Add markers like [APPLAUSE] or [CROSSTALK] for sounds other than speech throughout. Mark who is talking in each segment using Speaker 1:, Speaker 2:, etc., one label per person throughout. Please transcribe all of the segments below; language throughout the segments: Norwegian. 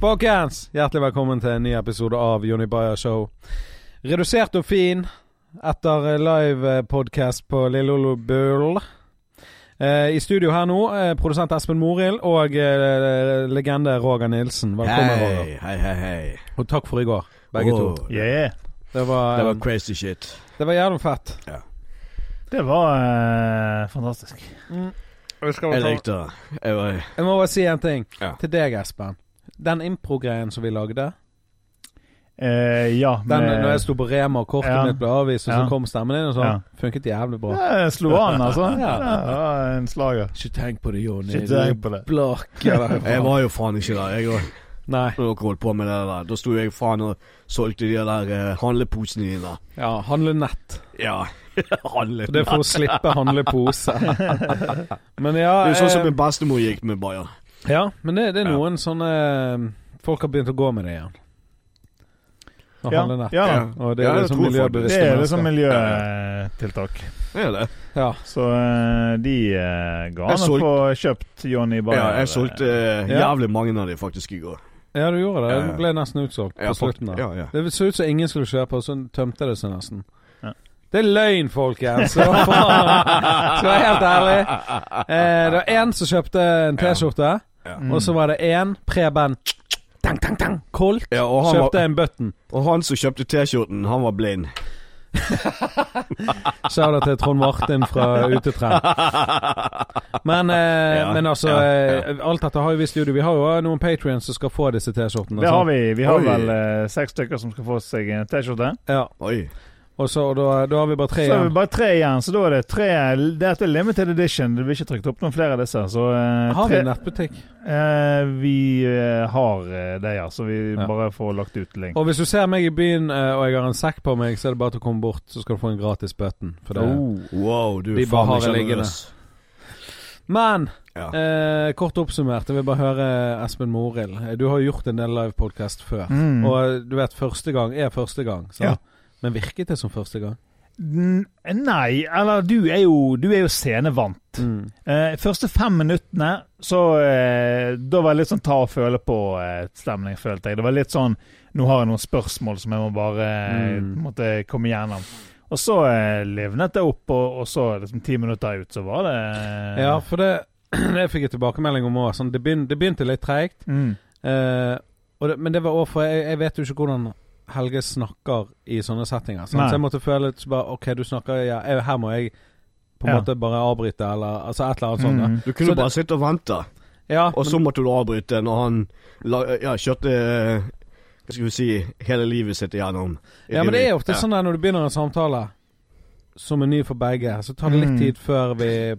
Speaker 1: Folkens, hjertelig velkommen til en ny episode av Jonny Bayer Show. Redusert og fin etter live-podkast på Lille Olo Bull. Eh, I studio her nå, eh, produsent Espen Morild og eh, legende Roger Nilsen. Velkommen, Roger.
Speaker 2: Hei, hei, hei, hei.
Speaker 1: Og takk for i går, begge
Speaker 2: Åh,
Speaker 1: to.
Speaker 3: Yeah.
Speaker 1: Det var,
Speaker 2: Det
Speaker 1: eh,
Speaker 2: var crazy shit.
Speaker 1: det var jævlig fett.
Speaker 3: Det var eh, fantastisk.
Speaker 2: Jeg likte det. Jeg var-
Speaker 1: Jeg må bare si en ting
Speaker 2: Ja.
Speaker 1: til deg, Espen. Den impro-greien som vi lagde,
Speaker 3: Eh, ja,
Speaker 1: den
Speaker 3: med-
Speaker 1: når jeg sto på Rema og kortet
Speaker 3: Ja.
Speaker 1: mitt ble avvist, og
Speaker 3: Ja.
Speaker 1: så kom stemmen din og sånn,
Speaker 3: Ja.
Speaker 1: funket jævlig bra.
Speaker 3: Ja, jeg slo an, altså.
Speaker 1: [LAUGHS] Ja.
Speaker 3: ja. det var en slager.
Speaker 1: Ikke tenk på det, Jonny.
Speaker 3: Ikke tenk på det.
Speaker 1: blakk.
Speaker 2: Jeg var jo faen ikke der, jeg òg.
Speaker 1: Nei.
Speaker 2: Når dere holdt på med det der. Da sto jeg faen og solgte de der eh, handleposene dine der.
Speaker 1: Ja, handle nett.
Speaker 2: [LAUGHS] Ja. Handle.
Speaker 1: For det er for å slippe handle [LAUGHS] pose. Men ja
Speaker 2: Det er jo sånn som
Speaker 1: eh,
Speaker 2: min bestemor gikk med Bayer.
Speaker 1: Ja, men det, det er
Speaker 2: Ja.
Speaker 1: noen sånne eh, Folk har begynt å gå med det igjen. Å
Speaker 3: Ja,
Speaker 1: handle nett.
Speaker 3: ja. da.
Speaker 1: Og det
Speaker 2: Ja,
Speaker 1: er
Speaker 2: jeg
Speaker 1: liksom
Speaker 2: tror folk-
Speaker 3: Det
Speaker 1: miljøbevisste
Speaker 3: er liksom
Speaker 1: mennesker.
Speaker 3: miljøtiltak.
Speaker 2: Det er det.
Speaker 1: Ja.
Speaker 3: Så eh, de eh, ga
Speaker 2: Jeg
Speaker 3: an å
Speaker 2: solgte-
Speaker 3: få kjøpt Johnny Bayer.
Speaker 2: Ja, jeg solgte eh,
Speaker 1: Ja.
Speaker 2: jævlig mange av de faktisk i går.
Speaker 1: ja, du gjorde det.
Speaker 2: Ja, ja.
Speaker 1: Det ble nesten utsolgt
Speaker 2: Ja,
Speaker 1: på slutten.
Speaker 2: fakt-
Speaker 1: der
Speaker 2: Ja, ja.
Speaker 1: Det så ut som ingen skulle kjøpe, og så tømte det seg nesten.
Speaker 3: Ja.
Speaker 1: Det er løgn, folkens! [LAUGHS] Så faen. Skal jeg være helt ærlig. Eh, det var én som kjøpte en T-skjorte,
Speaker 3: Mm.
Speaker 1: og så var det én preben dang, dang, dang, Kolk
Speaker 2: Ja, og, han
Speaker 1: kjøpte
Speaker 2: var,
Speaker 1: en button.
Speaker 2: og han som kjøpte T-skjorten, han
Speaker 1: [LAUGHS]
Speaker 2: var blind.
Speaker 1: Sa det til Trond Martin
Speaker 2: [LAUGHS]
Speaker 1: fra Utetrend. Men, eh,
Speaker 2: Ja,
Speaker 1: men altså,
Speaker 2: ja, ja.
Speaker 1: eh, alt dette har jo vi i studio. Vi har jo også noen patrions som skal få disse T-skjortene.
Speaker 3: Det har vi. Vi har
Speaker 2: Oi.
Speaker 3: vel eh, seks stykker som skal få seg en T-skjorte.
Speaker 1: Ja,
Speaker 2: Oi.
Speaker 1: og så, og da, da har vi bare
Speaker 3: Så
Speaker 1: tre
Speaker 3: er vi
Speaker 1: igjen.
Speaker 3: bare tre igjen, så da er det tre Dette er limited edition. Det blir ikke trykt opp noen flere av disse. Så eh,
Speaker 1: Har vi
Speaker 3: tre-
Speaker 1: en nettbutikk?
Speaker 3: Eh, vi eh, har eh, det, ja. Så vi
Speaker 1: Ja.
Speaker 3: bare får lagt ut link.
Speaker 1: Og hvis du ser meg i byen eh, og jeg har en sekk på meg, så er det bare til å komme bort, så skal du få en gratis button. For det.
Speaker 2: Oh. Wow, du
Speaker 1: De
Speaker 2: er faen
Speaker 1: bare
Speaker 2: meg
Speaker 1: har det liggende.
Speaker 2: sjenerøs.
Speaker 1: Men
Speaker 2: Ja.
Speaker 1: eh, kort oppsummert, jeg vil bare høre Espen Morild. Eh, Du har jo gjort en del livepodkast før.
Speaker 3: Mm.
Speaker 1: Og eh, du vet, første gang er første gang. Sant?
Speaker 3: Ja.
Speaker 1: Men virket det som første gang?
Speaker 3: eh, N- Nei, eller du er jo, du er jo scenevant.
Speaker 2: Mm.
Speaker 3: Eh, første fem minuttene, så eh, Da var det litt sånn ta og føle på-stemning, følte jeg. Det var litt sånn Nå har jeg noen spørsmål som jeg må bare eh,
Speaker 1: Mm.
Speaker 3: måtte komme gjennom. Og så eh, livnet det opp, og, og så liksom ti minutter ut, så var det eh,
Speaker 1: Ja, for det, [CLEARS THROAT] det fikk jeg tilbakemelding om òg. Sånn, det, begyn, det begynte litt treigt.
Speaker 3: Mm.
Speaker 1: Eh, og det- men det var òg for jeg, jeg vet jo ikke hvordan Helge snakker i sånne settinger. Sant?
Speaker 3: Nei.
Speaker 1: Så jeg måtte føle litt så bare OK, du snakker ja, jeg, Her må jeg på en
Speaker 3: Ja.
Speaker 1: måte bare avbryte, eller altså et eller annet sånt. da.
Speaker 3: Mm.
Speaker 2: Du
Speaker 1: Så
Speaker 2: kunne
Speaker 1: det-
Speaker 2: bare sitte og vente.
Speaker 1: Ja,
Speaker 2: Og så måtte du avbryte når han la, ja, kjørte eh, Hva skal vi si hele livet sitt
Speaker 1: men,
Speaker 2: igjennom.
Speaker 1: ja, men det er ofte
Speaker 2: Ja.
Speaker 1: sånn der når du begynner en samtale som er ny for begge, så tar det litt
Speaker 3: Mm.
Speaker 1: tid før vi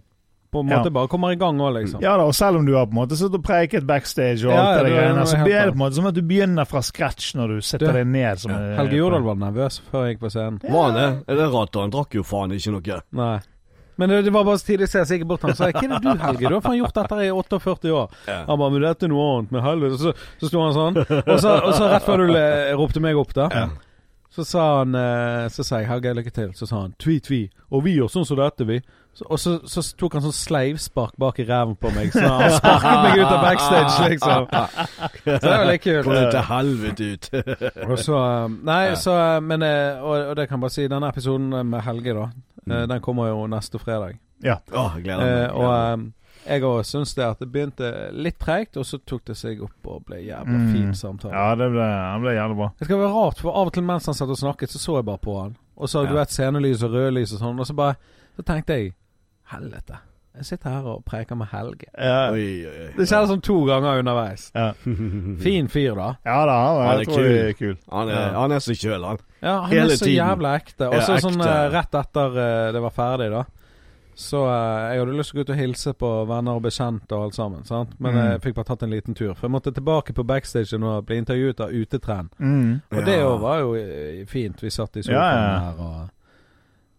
Speaker 1: på en
Speaker 3: Ja.
Speaker 1: måte bare kommer i gang òg, liksom.
Speaker 3: Ja da, og selv om du har på en måte sittet og preiket backstage og
Speaker 1: Ja,
Speaker 3: alt
Speaker 1: ja,
Speaker 3: det
Speaker 1: det-
Speaker 3: der greiene,
Speaker 1: det-
Speaker 3: så
Speaker 1: det-
Speaker 3: blir det på en måte som at du begynner fra scratch når du setter
Speaker 1: Det-
Speaker 3: deg ned som
Speaker 2: Ja.
Speaker 3: eh,
Speaker 1: Helge Jordal var nervøs før jeg gikk på scenen.
Speaker 2: Var han det? Er det rart? da? Han drakk jo faen ikke noe.
Speaker 1: Nei. Men det, det var bare så tidlig så jeg sikkert bort til han og sa Hva er det du, Helge? Du har faen gjort dette her i 48 år.
Speaker 2: Ja.
Speaker 1: Han bare Men dette er noe annet. Men helvete. Så, så sto han sånn. Og så, og så rett før du le, ropte meg opp, da. Så sa han eh, Så sa jeg Helge, lykke til. Så sa han tvi, tvi. Og vi gjør sånn som dette, vi. Så, og så, så tok han sånn sleivspark bak i ræven på meg. Så han sparket meg ut av backstage, liksom. Så det var litt
Speaker 2: Kom
Speaker 1: kult.
Speaker 2: deg til helvete ut. [LAUGHS]
Speaker 1: Og så um, Nei, så um, Men eh, og, og det kan jeg bare si, denne episoden uh, med Helge, da,
Speaker 3: Mm.
Speaker 1: eh, den kommer jo neste fredag.
Speaker 2: Å, jeg gleder meg.
Speaker 1: Eh, og um, jeg òg syns det at det begynte litt treigt, og så tok det seg opp og ble jævla
Speaker 3: Mm.
Speaker 1: fin samtale.
Speaker 3: Ja, det ble, han ble jævlig bra.
Speaker 1: Det skal være rart, for av og til mens han satt og snakket, så så jeg bare på han. Og så du
Speaker 2: Ja.
Speaker 1: vet scenelys og rødlys og sånn, og så bare Så tenkte jeg Helvete. Jeg sitter her og preker med Helge.
Speaker 3: Ja,
Speaker 2: oi, oi, oi.
Speaker 1: Det
Speaker 2: [LAUGHS]
Speaker 1: skjedde sånn to ganger underveis.
Speaker 3: Ja.
Speaker 1: Fin fyr, da.
Speaker 3: ja da, han var
Speaker 2: Han er
Speaker 3: jeg tror det er kul.
Speaker 2: Han er, han er så kjøl, han.
Speaker 1: Ja, han
Speaker 2: Hele
Speaker 1: er så
Speaker 2: tiden.
Speaker 1: jævla ekte. Og
Speaker 2: Ja,
Speaker 1: så sånn
Speaker 2: ekte.
Speaker 1: eh, rett etter eh, det var ferdig, da. Så eh, jeg hadde lyst til å gå ut og hilse på venner og bekjente og alt sammen. sant? Men
Speaker 3: Mm.
Speaker 1: jeg fikk bare tatt en liten tur. For jeg måtte tilbake på backstagen og bli intervjuet av Utetren.
Speaker 3: Mm.
Speaker 1: Og
Speaker 2: Ja.
Speaker 1: det jo var jo eh, fint. Vi satt i sofaen
Speaker 3: Ja, ja.
Speaker 1: her og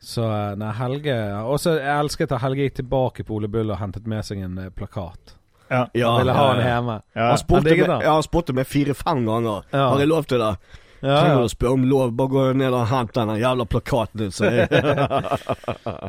Speaker 1: Så eh, nei, Helge Og så jeg elsket at Helge gikk tilbake på Ole Bull og hentet med seg en eh, plakat.
Speaker 3: Ja.
Speaker 2: Ja,
Speaker 1: Han ville ha
Speaker 2: Ah, ja,
Speaker 1: den
Speaker 2: ja.
Speaker 1: hjemme.
Speaker 3: Ja.
Speaker 2: Han
Speaker 1: Han
Speaker 2: spurte
Speaker 1: digget
Speaker 2: meg,
Speaker 1: han.
Speaker 2: ja, han spurte meg fire-fem ganger.
Speaker 1: Ja.
Speaker 2: Har jeg lov til det?
Speaker 1: Ja,
Speaker 2: Trenger
Speaker 1: ja.
Speaker 2: du å spørre om lov? Bare gå ned og hent den jævla plakaten din, sier jeg.
Speaker 1: [LAUGHS]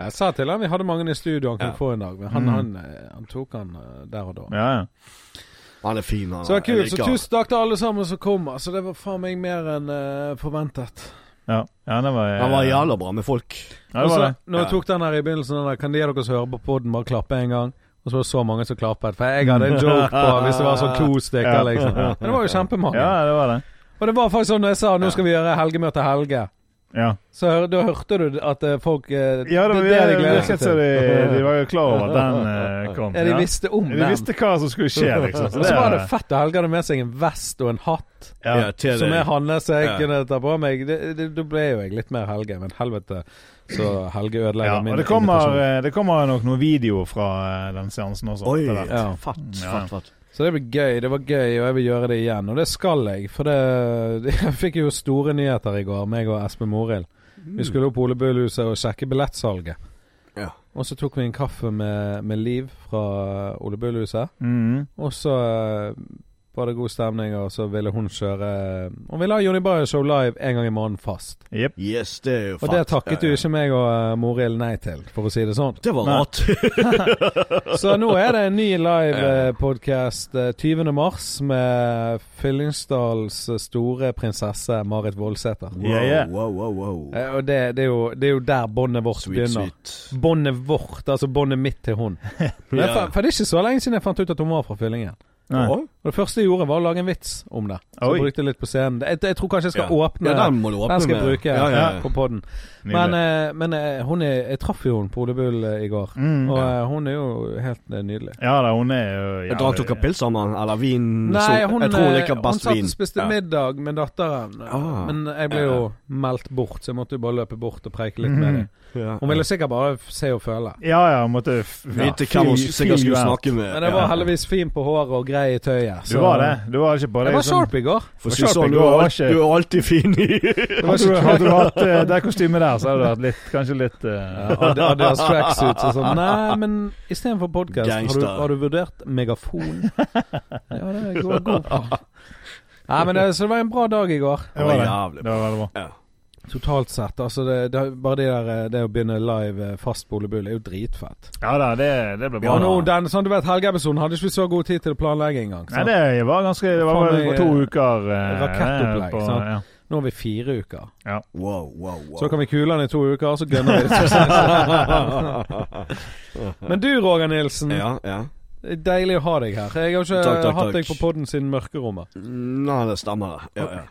Speaker 1: Jeg sa til han vi hadde mange i studio han kunne
Speaker 2: Ja.
Speaker 1: få en dag, men han,
Speaker 3: Mm.
Speaker 1: han, eh, han tok han eh, der og da.
Speaker 3: Ja, ja.
Speaker 2: Han er fin, han.
Speaker 1: Så det var
Speaker 2: Jeg
Speaker 1: kult. Så
Speaker 2: liker han.
Speaker 1: tusen takk til alle sammen som kom. Altså, det var faen meg mer enn eh, forventet.
Speaker 3: Ja, ja det var
Speaker 2: Han var jævla bra med folk.
Speaker 3: Ja, det var det.
Speaker 1: Når jeg
Speaker 2: Ja.
Speaker 1: tok den her i begynnelsen, den der, kan de av dere som hører på podden bare klappe en gang? Og så var det så mange som klappet. For jeg hadde en joke på hvis det var sånn to stykker,
Speaker 3: Ja.
Speaker 1: liksom. Men det var jo kjempemange.
Speaker 3: Ja, det var det.
Speaker 1: Og det var faktisk sånn når jeg sa nå skal vi gjøre helgemøte helge.
Speaker 3: Ja,
Speaker 1: Så hør, da hørte du at eh, folk eh,
Speaker 3: det,
Speaker 1: er det de gleder
Speaker 3: virket
Speaker 1: seg til.
Speaker 3: som de, de var jo klar over at den eh, kom.
Speaker 1: Ja, de
Speaker 3: Ja.
Speaker 1: visste om
Speaker 3: De
Speaker 1: den.
Speaker 3: visste hva som skulle skje, liksom.
Speaker 1: Og så var det fett at Helge hadde med seg en vest og en hatt,
Speaker 3: Ja,
Speaker 2: Ja, til
Speaker 1: som
Speaker 2: det.
Speaker 1: jeg handlet så jeg
Speaker 2: Ja.
Speaker 1: kunne ta på meg. Det- det- Da ble jo jeg litt mer Helge, men helvete så Helge ødelegger
Speaker 3: Ja,
Speaker 1: min
Speaker 3: og det kommer,
Speaker 1: invitasjon.
Speaker 3: eh, det kommer nok noen video fra eh, den seansen også.
Speaker 2: Oi.
Speaker 3: etter hvert.
Speaker 1: Ja.
Speaker 2: Fatt,
Speaker 3: Ja.
Speaker 2: fatt, fatt.
Speaker 1: Så det blir gøy. Det var gøy, og jeg vil gjøre det igjen. Og det skal jeg, for det [LAUGHS] Jeg fikk jo store nyheter i går, meg og Espen Morild. Vi skulle opp på Ole Bull-huset og sjekke billettsalget.
Speaker 2: Ja.
Speaker 1: Og så tok vi en kaffe med, med Liv fra Ole Bull-huset.
Speaker 3: Mhm.
Speaker 1: Og så eh, var det god stemning, og så ville hun kjøre Hun ville ha Jonny Bayer-show live en gang i måneden fast.
Speaker 3: Jepp.
Speaker 2: Yes, det er jo
Speaker 1: Og
Speaker 2: fatt.
Speaker 1: det takket jo
Speaker 2: Ja, ja.
Speaker 1: ikke meg og eh, Morild nei til, for å si det sånn.
Speaker 2: Det var
Speaker 3: Nei.
Speaker 1: [LAUGHS]
Speaker 2: rart.
Speaker 1: Så nå er det en ny eh, live-podkast 20. mars med Fyllingsdals eh, store prinsesse Marit Voldsæter.
Speaker 2: Wow,
Speaker 3: Ja, ja.
Speaker 2: wow, wow, wow.
Speaker 1: Eh, Og det, det, er jo, det er jo der båndet vårt
Speaker 2: Sweet,
Speaker 1: begynner.
Speaker 2: sweet.
Speaker 1: Båndet vårt, altså båndet mitt til
Speaker 2: [LAUGHS]
Speaker 1: hun. Men jeg fa- for det er ikke så lenge siden jeg fant ut at hun var fra Fyllingen.
Speaker 3: Nei.
Speaker 2: Å?
Speaker 1: Og det første jeg gjorde, var å lage en vits om det. Så
Speaker 3: Oi.
Speaker 1: jeg brukte det litt på scenen. Jeg, jeg tror kanskje jeg skal
Speaker 2: Ja.
Speaker 1: åpne
Speaker 2: Ja, den må du åpne
Speaker 1: den skal jeg
Speaker 2: med.
Speaker 1: bruke
Speaker 2: Ja, ja, ja.
Speaker 1: på podden. Men,
Speaker 3: Nydelig.
Speaker 1: eh, men eh, hun er, jeg traff jo hun på Ole Bull eh, i går,
Speaker 3: Mm.
Speaker 1: og eh, hun er jo helt eh, nydelig.
Speaker 3: Ja da, hun er jo
Speaker 2: Jeg drakk dere pils sammen, eller vin? så- jeg tror hun
Speaker 1: eh,
Speaker 2: liker
Speaker 1: hun
Speaker 2: best
Speaker 1: satt
Speaker 2: vin.
Speaker 1: og spiste
Speaker 2: Ja.
Speaker 1: middag med datteren, eh,
Speaker 2: Ah.
Speaker 1: men jeg ble jo meldt bort, så jeg måtte jo bare løpe bort og preike litt
Speaker 2: Mm.
Speaker 1: med
Speaker 3: Mhm.
Speaker 1: dem.
Speaker 2: Ja.
Speaker 1: Hun ville sikkert bare f- se og føle.
Speaker 3: Ja ja, hun måtte f- ja,
Speaker 2: Vite hvem hun
Speaker 3: feel-
Speaker 2: sikkert
Speaker 3: feel you
Speaker 2: skulle
Speaker 3: out.
Speaker 2: snakke med.
Speaker 1: Men jeg var heldigvis fin på håret og grei i tøyet.
Speaker 3: Du var det? Du var ikke på det?
Speaker 1: Jeg var
Speaker 3: sånn-
Speaker 1: sharp i går.
Speaker 2: For å
Speaker 3: Og
Speaker 2: si det
Speaker 3: Sharpie,
Speaker 2: sånn, du
Speaker 3: du
Speaker 2: er
Speaker 3: var
Speaker 2: alt-
Speaker 3: ikke-
Speaker 2: du er alltid fin
Speaker 1: [LAUGHS]
Speaker 2: i
Speaker 3: Hadde du, hadde du hatt eh, det kostymet der, så hadde du hatt litt, kanskje litt eh,
Speaker 1: Adidas tracksuits og sånn. Nei, men istedenfor podkast, har, du-
Speaker 2: Gangster.
Speaker 1: har du vurdert
Speaker 3: [LAUGHS]
Speaker 1: megafon? Ja, det går god
Speaker 2: [LAUGHS]
Speaker 1: på. Nei, men det, Så det var en bra dag i går,
Speaker 3: Det var det.
Speaker 2: Jævlig
Speaker 3: Det var veldig bra.
Speaker 1: totalt sett. Altså det, det, bare det, der, eh, det å begynne live eh, fast på Ole Bull er jo dritfett.
Speaker 3: Ja da, det, det ble bra.
Speaker 1: Og nå, den, sånn, du vet, Helgeepisoden hadde ikke vi så god tid til å planlegge engang.
Speaker 3: Nei,
Speaker 1: sant?
Speaker 3: det var ganske Det var
Speaker 1: Faen
Speaker 3: bare
Speaker 1: meg,
Speaker 3: på to uker. eh,
Speaker 1: rakettopplegg,
Speaker 3: på-
Speaker 1: sant?
Speaker 3: ja.
Speaker 1: Nå er vi fire uker.
Speaker 2: Wow, wow, wow.
Speaker 1: Så kan vi kule den i to uker, og så gønner vi. Men du Roger Nilsen,
Speaker 2: [LAUGHS] Ja, ja.
Speaker 1: deilig å ha deg her. Jeg har ikke
Speaker 2: Takk, takk,
Speaker 1: hatt
Speaker 2: takk.
Speaker 1: deg på podden siden mørkerommet.
Speaker 2: Nei, det stemmer. Ja, ja.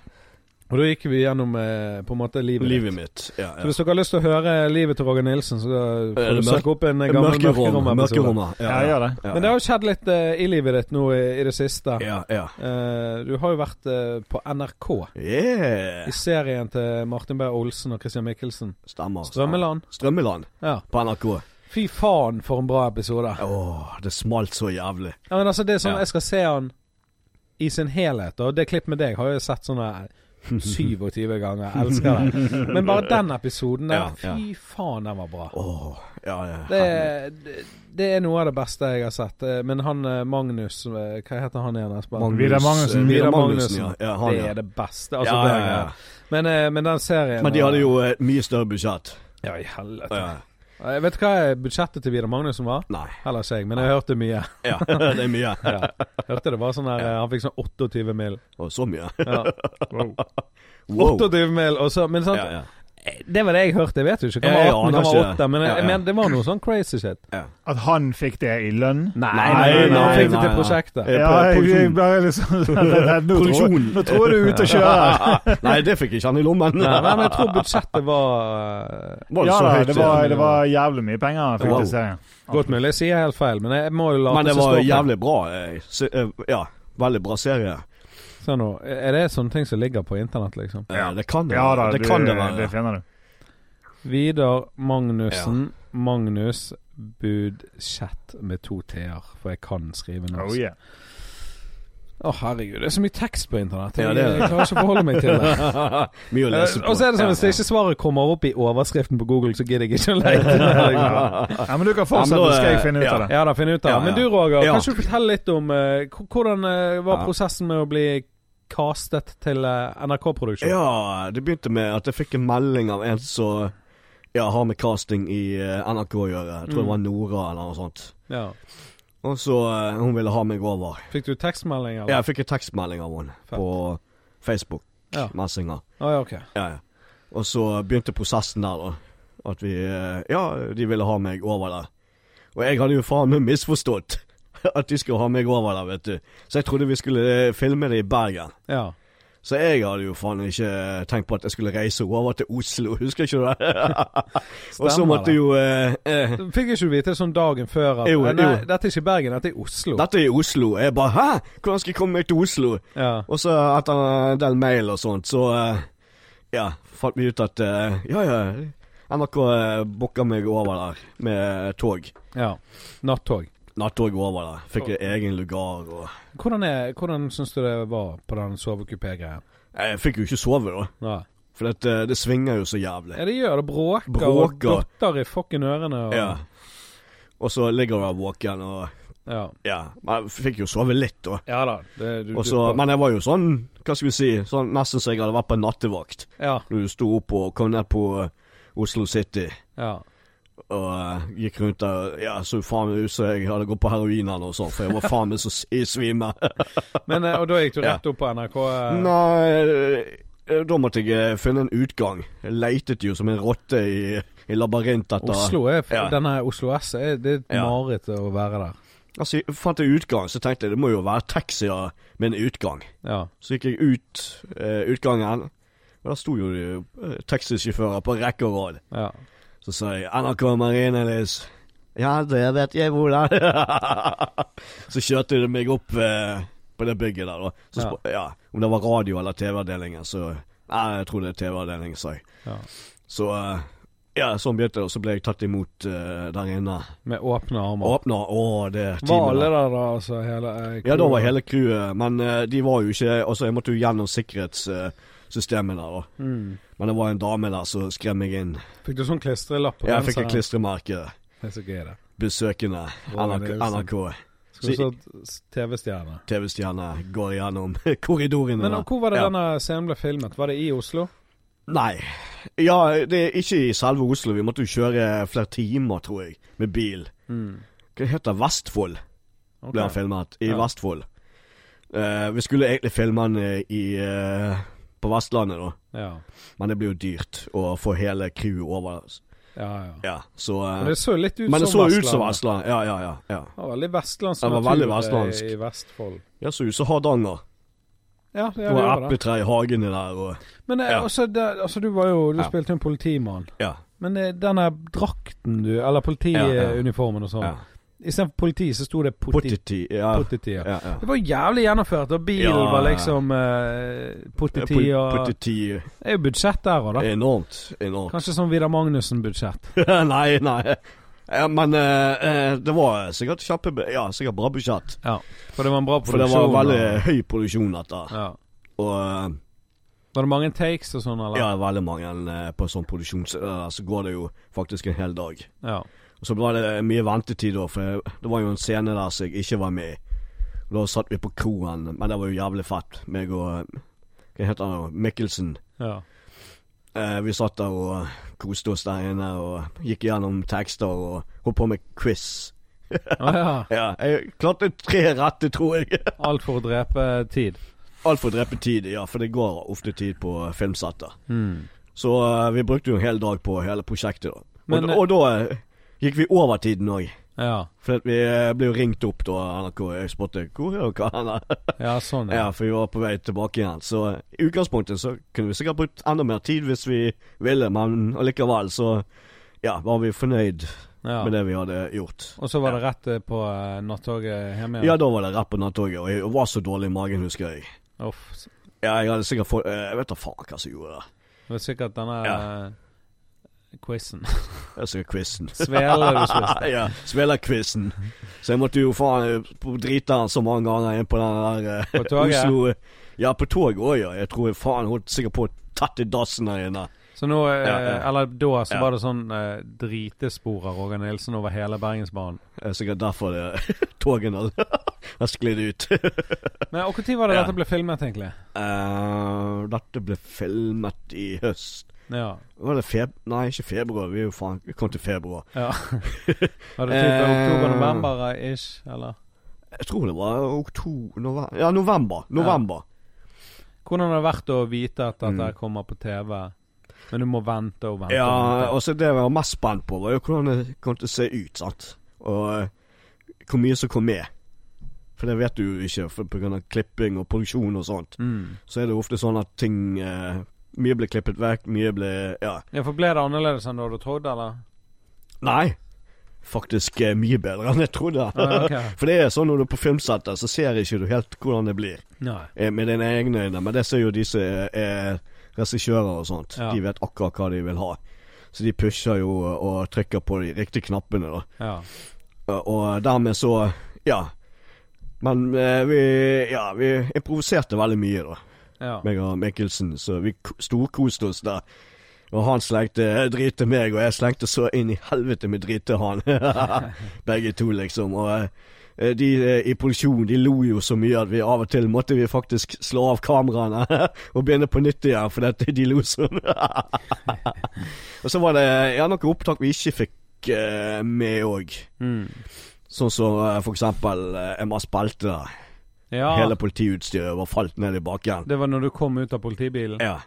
Speaker 1: Og da gikk vi gjennom eh, på en måte livet. ditt.
Speaker 2: Livet mitt. Ja,
Speaker 1: Så hvis
Speaker 2: ja.
Speaker 1: dere har lyst til å høre livet til Roger Nilsen, så eh,
Speaker 2: Er
Speaker 1: får
Speaker 2: det
Speaker 1: du
Speaker 2: mørk-
Speaker 1: søke opp en eh, gammel
Speaker 2: Mørkerom.
Speaker 1: mørkerom-episode.
Speaker 2: Mørkerommet.
Speaker 3: ja, gjør det.
Speaker 2: ja.
Speaker 1: Men det har jo skjedd litt eh, i livet ditt nå i, i det siste.
Speaker 2: ja, ja.
Speaker 1: Eh, du har jo vært eh, på NRK,
Speaker 2: Yeah.
Speaker 1: i serien til Martin Beyer Olsen og Christian Michelsen.
Speaker 2: Stemmer.
Speaker 1: Strømmeland.
Speaker 2: Strømmeland
Speaker 1: Ja.
Speaker 2: på NRK.
Speaker 1: Fy faen, for en bra episode.
Speaker 2: Åh, det smalt så jævlig.
Speaker 1: Ja, men altså, det er sånn
Speaker 2: Ja.
Speaker 1: jeg skal se han i sin helhet, og det klipp med deg har jeg sett sånne eh,
Speaker 2: [LAUGHS]
Speaker 1: 27 ganger. Jeg elsker det. Men bare den episoden der,
Speaker 2: Ja, ja.
Speaker 1: fy faen, den var bra.
Speaker 2: Åh, ja, ja.
Speaker 1: Det, det- det er noe av det beste jeg har sett. Eh, Men han eh, Magnus eh, Hva heter han igjen? Espen?
Speaker 2: Magnus-
Speaker 3: Vidar Magnussen.
Speaker 2: Vidar
Speaker 1: Vidar
Speaker 2: Magnussen,
Speaker 1: Magnussen.
Speaker 2: ja. ja han,
Speaker 1: det
Speaker 2: ja.
Speaker 1: er det beste. Altså,
Speaker 2: Ja,
Speaker 1: det er
Speaker 2: ja, ja.
Speaker 1: greia. Men, eh, men den serien
Speaker 2: Men de
Speaker 1: var-
Speaker 2: hadde jo et mye større budsjett.
Speaker 1: Ja, i helvete.
Speaker 2: Ja.
Speaker 1: Eh, Vet du hva budsjettet til Vidar Magnussen var?
Speaker 2: Nei.
Speaker 1: Heller ikke jeg, men jeg hørte mye.
Speaker 2: Ja, [LAUGHS] det er mye.
Speaker 1: Ja. [LAUGHS] Hørte det var sånn her eh, Han fikk sånn 28 mil.
Speaker 2: Åh, så mye.
Speaker 1: Ja. [LAUGHS]
Speaker 2: Wow.
Speaker 1: 28 mil, og så Men sant,
Speaker 2: Ja, ja.
Speaker 1: det var det jeg hørte. Jeg vet jo ikke hva
Speaker 2: Ja, ja,
Speaker 1: var 18,
Speaker 2: han
Speaker 1: hva
Speaker 2: har
Speaker 1: var
Speaker 2: ikke-
Speaker 1: 8, men jeg,
Speaker 2: Ja, ja.
Speaker 1: jeg mener, det var noe sånn crazy shit.
Speaker 3: At han fikk det i lønn?
Speaker 1: Nei,
Speaker 2: nei,
Speaker 1: men han fikk
Speaker 3: nei,
Speaker 1: det
Speaker 2: nei,
Speaker 1: til
Speaker 2: nei.
Speaker 1: prosjektet.
Speaker 2: Mm. Eh,
Speaker 3: Ja, jeg,
Speaker 2: produksjon.
Speaker 3: jeg bare
Speaker 2: [LAUGHS]
Speaker 3: liksom Nå tror,
Speaker 2: Produksjon.
Speaker 3: nå tror jeg du er ute og kjører.
Speaker 2: Nei, det fikk ikke han i lommen.
Speaker 1: Nei, men jeg tror budsjettet var eh,
Speaker 2: [LAUGHS] Var [LAUGHS] det
Speaker 3: Ja
Speaker 2: så
Speaker 3: da,
Speaker 2: høyt?
Speaker 3: det var, det var jævlig mye penger han fikk
Speaker 2: Wow.
Speaker 3: til serien.
Speaker 1: Godt mulig jeg sier helt feil, men jeg må jo late
Speaker 2: Men det
Speaker 1: som
Speaker 2: var
Speaker 1: står på.
Speaker 2: jævlig bra. eh, se- eh, Ja, veldig bra serie.
Speaker 1: Se nå, Sånn, Er det sånne ting som ligger på internett, liksom?
Speaker 2: Eh, Det kan det,
Speaker 3: Ja da,
Speaker 2: det,
Speaker 3: du-
Speaker 2: kan det
Speaker 3: det
Speaker 2: være.
Speaker 3: finner du.
Speaker 1: Vidar Magnussen. Magnus Budskjett med to t-er, for jeg kan skrive norsk.
Speaker 3: Oh, yeah.
Speaker 1: Å, herregud, det er så mye tekst på internett.
Speaker 2: Ja,
Speaker 1: Jeg,
Speaker 2: det er det.
Speaker 1: jeg klarer ikke å forholde meg til
Speaker 2: [LAUGHS]
Speaker 1: det.
Speaker 2: [LAUGHS] Mye å lese
Speaker 1: Eh,
Speaker 2: på.
Speaker 1: Og så er det sånn,
Speaker 2: Ja,
Speaker 1: hvis det ikke svaret kommer opp i overskriften på Google, så gidder jeg ikke å
Speaker 2: [LAUGHS]
Speaker 1: lete. liksom.
Speaker 3: Ja, men du kan fortsette,
Speaker 2: Ja, men da,
Speaker 3: så skal jeg finne ut
Speaker 2: ja.
Speaker 3: av det.
Speaker 1: Ja da, finn ut av
Speaker 2: Ja,
Speaker 1: det. Men du
Speaker 2: ja.
Speaker 1: Roger,
Speaker 2: Ja.
Speaker 1: kan ikke du fortelle litt om eh, h- hvordan eh, var
Speaker 2: Ja.
Speaker 1: prosessen med å bli castet til eh, NRK-produksjon?
Speaker 2: Ja, det begynte med at jeg fikk en melding av en som
Speaker 1: Mm.
Speaker 2: ja, har med casting i eh, NRK å gjøre. Jeg tror det var Nora eller noe sånt. Og så eh, hun ville ha meg over.
Speaker 1: Fikk du tekstmelding, eller?
Speaker 2: Ja, jeg fikk en tekstmelding av henne
Speaker 1: Fett.
Speaker 2: på
Speaker 1: Ja.
Speaker 2: Facebook-messenger.
Speaker 1: Å, ja, ok.
Speaker 2: Ja, ja. Og så begynte prosessen der, da. At vi eh, Ja, de ville ha meg over der. Og jeg hadde jo faen meg misforstått [LAUGHS] at de skulle ha meg over der, vet du. Så jeg trodde vi skulle eh, filme det i Bergen.
Speaker 1: Ja.
Speaker 2: Så jeg hadde jo faen ikke eh, tenkt på at jeg skulle reise over til Oslo, [LAUGHS] husker ikke du det? og så måtte jo eh, eh,
Speaker 1: Fikk ikke du vite det sånn dagen før at
Speaker 2: Jo,
Speaker 1: eh, Nei,
Speaker 2: jo.
Speaker 1: dette er ikke Bergen, dette er Oslo.
Speaker 2: Dette er i Oslo. Jeg bare Hæ? Hvordan skal jeg komme meg til Oslo?
Speaker 1: ja.
Speaker 2: Og så etter en del mail og sånt, så eh, ja, fant vi ut at eh, ja, ja, NRK uh, booka meg over der med tog.
Speaker 1: ja. Nattog.
Speaker 2: Nattog over der. Fikk jeg egen lugar og
Speaker 1: Hvordan, er- hvordan syns du det var på den sovekupé-greien?
Speaker 2: Jeg fikk jo ikke sove, da.
Speaker 1: Ja.
Speaker 2: For det, det svinger jo så jævlig.
Speaker 1: ja, det gjør det. Bråker, og
Speaker 2: Bråker.
Speaker 1: dotter i fucking ørene. Og,
Speaker 2: Ja. Og så ligger du der våken og
Speaker 1: ja.
Speaker 2: Ja. Men jeg fikk jo sove litt, da.
Speaker 1: Ja da. Det, du,
Speaker 2: Og så-
Speaker 1: du,
Speaker 2: men jeg var jo sånn, hva skal vi si, sånn nesten så jeg hadde vært på nattevakt.
Speaker 1: ja,
Speaker 2: Du sto opp og kom ned på eh, Oslo City.
Speaker 1: ja.
Speaker 2: Og eh, gikk rundt der Ja, så faen meg ut som jeg hadde gått på heroin eller noe sånt, for jeg var faen meg så s- i svime.
Speaker 1: Men, eh, og da
Speaker 2: [LAUGHS]
Speaker 1: gikk du rett opp på NRK? eh,
Speaker 2: Nei, eh, da måtte jeg eh, finne en utgang. Jeg leitet jo som en rotte i, i labyrint etter
Speaker 1: Oslo er,
Speaker 2: Ja.
Speaker 1: Denne Oslo S er, det er et
Speaker 2: Ja.
Speaker 1: mareritt å være der.
Speaker 2: Altså, jeg fant en utgang, så tenkte jeg det må jo være taxier med en utgang.
Speaker 1: Ja.
Speaker 2: Så gikk jeg ut eh, utgangen, og der sto jo de, eh, taxisjåfører på rekke og rad.
Speaker 1: ja.
Speaker 2: Så sa jeg NRK Marienlyst. Ja, det vet jeg hvor det er. [LAUGHS] så kjørte de meg opp eh, på det bygget der, da. Så spør, ja. om det var radio eller TV-avdelingen, så Nei, jeg tror det er TV-avdelingen, sa jeg.
Speaker 1: Ja.
Speaker 2: Så eh, ja, sånn begynte det, og så ble jeg tatt imot eh, der inne.
Speaker 1: Med åpne armer.
Speaker 2: Åpna, å, det er
Speaker 1: Var
Speaker 2: teamet
Speaker 1: alle
Speaker 2: der.
Speaker 1: der, da? Altså, hele, eh,
Speaker 2: Ja, da
Speaker 1: crewet?
Speaker 2: var hele crewet, men eh, de var jo ikke Altså, jeg måtte jo gjennom sikkerhetssystemet der, da.
Speaker 1: mm.
Speaker 2: Men det var en dame der som skrev meg inn.
Speaker 1: Fikk du sånn klistrelapp på
Speaker 2: Jeg fikk
Speaker 1: genseren?
Speaker 2: et klistremerke.
Speaker 1: Det er så gøy, det.
Speaker 2: besøkende
Speaker 1: Roar
Speaker 2: NRK,
Speaker 1: Nilsen.
Speaker 2: NRK
Speaker 1: Skulle stått TV-stjerne.
Speaker 2: TV-stjerne går gjennom [LAUGHS] korridorene.
Speaker 1: Men
Speaker 2: der.
Speaker 1: og hvor var det
Speaker 2: Ja.
Speaker 1: denne scenen ble filmet? Var det i Oslo?
Speaker 2: Nei. Ja, det er ikke i selve Oslo. Vi måtte jo kjøre flere timer, tror jeg, med bil. Hva heter det? Vestfold
Speaker 1: Ok.
Speaker 2: ble han filmet. I
Speaker 1: Ja.
Speaker 2: Vestfold. Eh, vi skulle egentlig filme den eh, i, eh, på Vestlandet, da.
Speaker 1: Ja.
Speaker 2: Men det blir jo dyrt å få hele crewet over.
Speaker 1: ja, ja.
Speaker 2: Ja, så eh,
Speaker 1: Men det så litt ut
Speaker 2: Men det så ut som
Speaker 1: Vestlandet.
Speaker 2: Vestlandet. Ja, ja, ja. ja.
Speaker 1: Det var veldig vestlandsk
Speaker 2: Det var
Speaker 1: natur,
Speaker 2: veldig
Speaker 1: eh,
Speaker 2: vestlandsk.
Speaker 1: i Vestfold.
Speaker 2: Ja, så ut som Hardanger.
Speaker 1: Ja, det
Speaker 2: Det var
Speaker 1: gjør det.
Speaker 2: epletre i hagene der og
Speaker 1: Men eh,
Speaker 2: Ja.
Speaker 1: altså, det, altså, du var jo Du
Speaker 2: Ja.
Speaker 1: spilte jo en politimann.
Speaker 2: Ja.
Speaker 1: Men eh, denne drakten, du, eller
Speaker 2: Ja, ja.
Speaker 1: politiuniformen og sånn
Speaker 2: ja.
Speaker 1: Istedenfor politi, så sto det potti-
Speaker 2: Pottiti. Ja.
Speaker 1: pottiti. Ja.
Speaker 2: Ja, ja.
Speaker 1: Det var jævlig gjennomført, og bilen
Speaker 2: Ja.
Speaker 1: var liksom eh, pottiti
Speaker 2: Pol-
Speaker 1: og
Speaker 2: Politi
Speaker 1: Det er jo budsjett der òg, da.
Speaker 2: enormt. Enormt. [LAUGHS]
Speaker 1: Kanskje sånn Vidar Magnussen-budsjett.
Speaker 2: nei, nei. Ja, men eh, eh, det var sikkert kjappe Ja, sikkert bra budsjett.
Speaker 1: Ja. For det var en bra
Speaker 2: For
Speaker 1: produksjon.
Speaker 2: det var veldig
Speaker 1: og-
Speaker 2: høy produksjon, dette.
Speaker 1: ja.
Speaker 2: Og eh,
Speaker 1: Var det mange takes og sånn, eller?
Speaker 2: ja, veldig mange eh, på sånn produksjon så, eh, så går det jo faktisk en hel dag.
Speaker 1: Ja.
Speaker 2: Og så var det mye ventetid, da, for jeg- det var jo en scene der som jeg ikke var med i. Og Da satt vi på kroen, men det var jo jævlig fett. Meg og eh, Hva heter han? nå? Mikkelsen.
Speaker 1: ja.
Speaker 2: Eh, vi satt der og koste oss der inne og gikk gjennom tekster og holdt på med quiz.
Speaker 1: Å ja.
Speaker 2: Ja, jeg klarte tre rette, tror jeg.
Speaker 1: Alt for å drepe tid.
Speaker 2: Alt for å drepe tid, ja, for det går ofte tid på filmsetter. Så eh, vi brukte jo en hel dag på hele prosjektet, da.
Speaker 1: Men-
Speaker 2: og, og da eh, gikk vi over tiden òg.
Speaker 1: Ja.
Speaker 2: For at vi eh, ble jo ringt opp da NRK jeg spurte hvor er dere hen?
Speaker 1: ja, sånn.
Speaker 2: Ja, for vi var på vei tilbake igjen. Så eh, i utgangspunktet så kunne vi sikkert brukt enda mer tid hvis vi ville, men allikevel så ja, var vi fornøyd
Speaker 1: Ja.
Speaker 2: med det vi hadde gjort.
Speaker 1: Og så var det rett eh, på eh, nattoget hjem igjen?
Speaker 2: Ja, da var det rett på nattoget, og jeg var så dårlig i magen, husker jeg.
Speaker 1: Uff. s-
Speaker 2: Ja, jeg hadde sikkert fått eh, Jeg vet da faen hva som gjorde det.
Speaker 1: Det var sikkert denne
Speaker 2: Ja.
Speaker 1: eh, quizen. [LAUGHS]
Speaker 2: Det er sikkert quizen.
Speaker 1: Svele du spiste.
Speaker 2: ja, spillerquizen. Så jeg måtte jo faen eh, på- drite den så mange ganger inn på den der eh,
Speaker 1: På toget?
Speaker 2: Oslo Ja, på toget òg, ja. Jeg tror jeg faen holdt sikkert på å tatt i dassen der inne.
Speaker 1: Så nå, eh,
Speaker 2: Ja, ja.
Speaker 1: eller da, så
Speaker 2: Ja.
Speaker 1: var det sånn eh, dritespor av Roger Nilsen over hele Bergensbanen.
Speaker 2: Det er sikkert derfor det [LAUGHS] togene har sklidd ut.
Speaker 1: Men og Når var det
Speaker 2: Ja.
Speaker 1: dette ble filmet, egentlig?
Speaker 2: Eh, dette ble filmet i høst.
Speaker 1: Ja.
Speaker 2: Var det feb... Nei, ikke februar. Vi er jo faen Vi kom til februar.
Speaker 1: ja.
Speaker 2: [LAUGHS]
Speaker 1: Har du tid til
Speaker 2: Eh,
Speaker 1: oktober-november-ish, eller?
Speaker 2: Jeg tror det var oktober november. Ja, november. November.
Speaker 1: Hvordan har det vært å vite at dette
Speaker 2: Mm.
Speaker 1: kommer på TV, men du må vente og vente?
Speaker 2: Ja,
Speaker 1: og vente.
Speaker 2: og så det jeg var mest spent på, var jo hvordan det kom til å se ut, sant. Og eh, hvor mye som kom med. For det vet du jo ikke for- på grunn av klipping og produksjon og sånt.
Speaker 1: Mm.
Speaker 2: Så er det ofte sånn at ting eh, Mye ble klippet vekk, mye ble Ja.
Speaker 1: ja, for ble det annerledes enn du hadde trodd,
Speaker 2: [LAUGHS]
Speaker 1: eller?
Speaker 2: Nei. Faktisk eh, mye bedre enn jeg trodde.
Speaker 1: Ah, ok.
Speaker 2: For det er sånn når du er på filmsettet, så ser ikke du helt hvordan det blir
Speaker 1: Nei.
Speaker 2: eh, med dine egne øyne. Men det ser jo de som er, er regissører og sånt.
Speaker 1: Ja.
Speaker 2: De vet akkurat hva de vil ha. Så de pusher jo og trykker på de riktige knappene, da.
Speaker 1: Ja.
Speaker 2: Og- Og dermed så Ja. Men eh, vi Ja, vi improviserte veldig mye, da.
Speaker 1: ja.
Speaker 2: Meg og Mikkelsen, så vi k- storkoste oss der. Og han slengte drit til meg, og jeg slengte så inn i helvete med drit til han. [LAUGHS] Begge to, liksom. Og eh, de eh, i produksjonen, de lo jo så mye at vi av og til måtte vi faktisk slå av kameraene [LAUGHS] og begynne på nytt igjen, for dette, de lo sånn. [LAUGHS] og så var det ja, noen opptak vi ikke fikk eh, med òg.
Speaker 1: Mm.
Speaker 2: Sånn som eh, for eksempel eh, Emma Spalte. der.
Speaker 1: ja.
Speaker 2: Hele politiutstyret var falt ned i bakken.
Speaker 1: Det var når du kom ut av politibilen?
Speaker 2: Ja.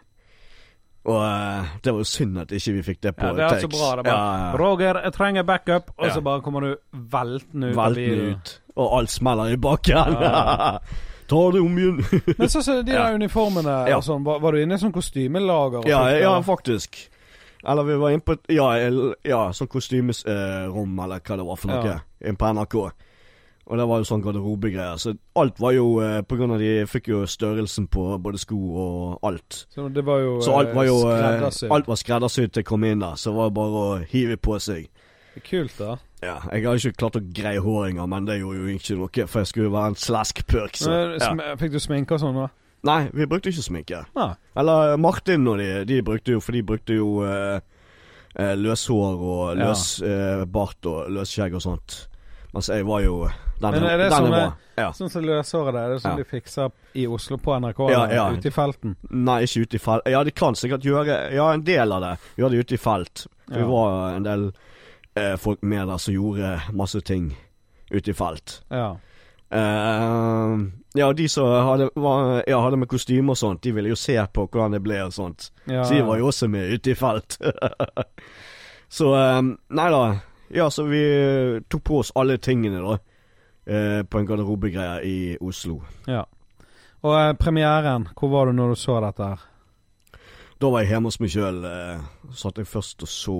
Speaker 2: Og eh, det var jo synd at ikke vi fikk det på
Speaker 1: Ja, det er så
Speaker 2: takes.
Speaker 1: bra. Det er bare
Speaker 2: Ja, ja.
Speaker 1: Roger, jeg trenger backup, og
Speaker 2: Ja.
Speaker 1: så bare kommer du veltende ut av
Speaker 2: Velten
Speaker 1: bilen.
Speaker 2: ut, og alt smeller i bakken.
Speaker 1: Ja.
Speaker 2: [LAUGHS] Ta det om igjen.
Speaker 1: [LAUGHS] Men så, så de der
Speaker 2: Ja.
Speaker 1: uniformene
Speaker 2: Ja.
Speaker 1: og sånn, var, var du inne i sånn kostymelager? og
Speaker 2: ja,
Speaker 1: sånt,
Speaker 2: ja,
Speaker 1: eller?
Speaker 2: faktisk. Eller vi var inne på et- Ja, el- ja sånn kostymerom, eller hva det var for noe.
Speaker 1: Ja.
Speaker 2: Inne på NRK. Og det var jo sånn garderobegreier. Så alt var jo eh, på grunn av de fikk jo størrelsen på både sko og alt.
Speaker 1: Så det var jo,
Speaker 2: Så alt var jo eh,
Speaker 1: skreddersydd.
Speaker 2: Alt var skreddersydd til jeg kom inn der, så det var bare å hive på seg.
Speaker 1: Kult, da.
Speaker 2: Ja, jeg har ikke klart å greie håringa, men det gjorde jo ikke noe, for jeg skulle jo være en slaskpurk. Så.
Speaker 1: Men, eh,
Speaker 2: Ja.
Speaker 1: sm Fikk du sminke og sånn? da?
Speaker 2: Nei, vi brukte ikke sminke.
Speaker 1: Nei.
Speaker 2: Eller eh, Martin og de, de brukte jo, for de brukte jo eh, eh, løshår og løs eh, bart og løsskjegg og sånt. Mens jeg var jo Den
Speaker 1: Men er det
Speaker 2: den
Speaker 1: sånn,
Speaker 2: var- Ja.
Speaker 1: Sånn som løshåret der, det er sånn
Speaker 2: Ja.
Speaker 1: de fikser i Oslo på NRK,
Speaker 2: Ja,
Speaker 1: eller
Speaker 2: ja.
Speaker 1: ute i felten.
Speaker 2: Nei, ikke ute i felt. Ja, de kan sikkert gjøre Ja, en del av det. Gjøre det ute i felt. For
Speaker 1: Ja.
Speaker 2: Vi var en del eh, folk med der som gjorde masse ting ute i felt.
Speaker 1: Ja.
Speaker 2: Eh, ja, de som hadde, var, ja, hadde med kostyme og sånt, de ville jo se på hvordan det ble og sånt.
Speaker 1: Ja.
Speaker 2: Så de var jo også med ute i felt. [LAUGHS] så eh, Nei da. Ja, så vi tok på oss alle tingene, da. eh, på en garderobegreie i Oslo.
Speaker 1: ja. Og eh, premieren, hvor var du når du så dette her?
Speaker 2: Da var jeg hjemme hos meg sjøl. Eh, satt jeg først og så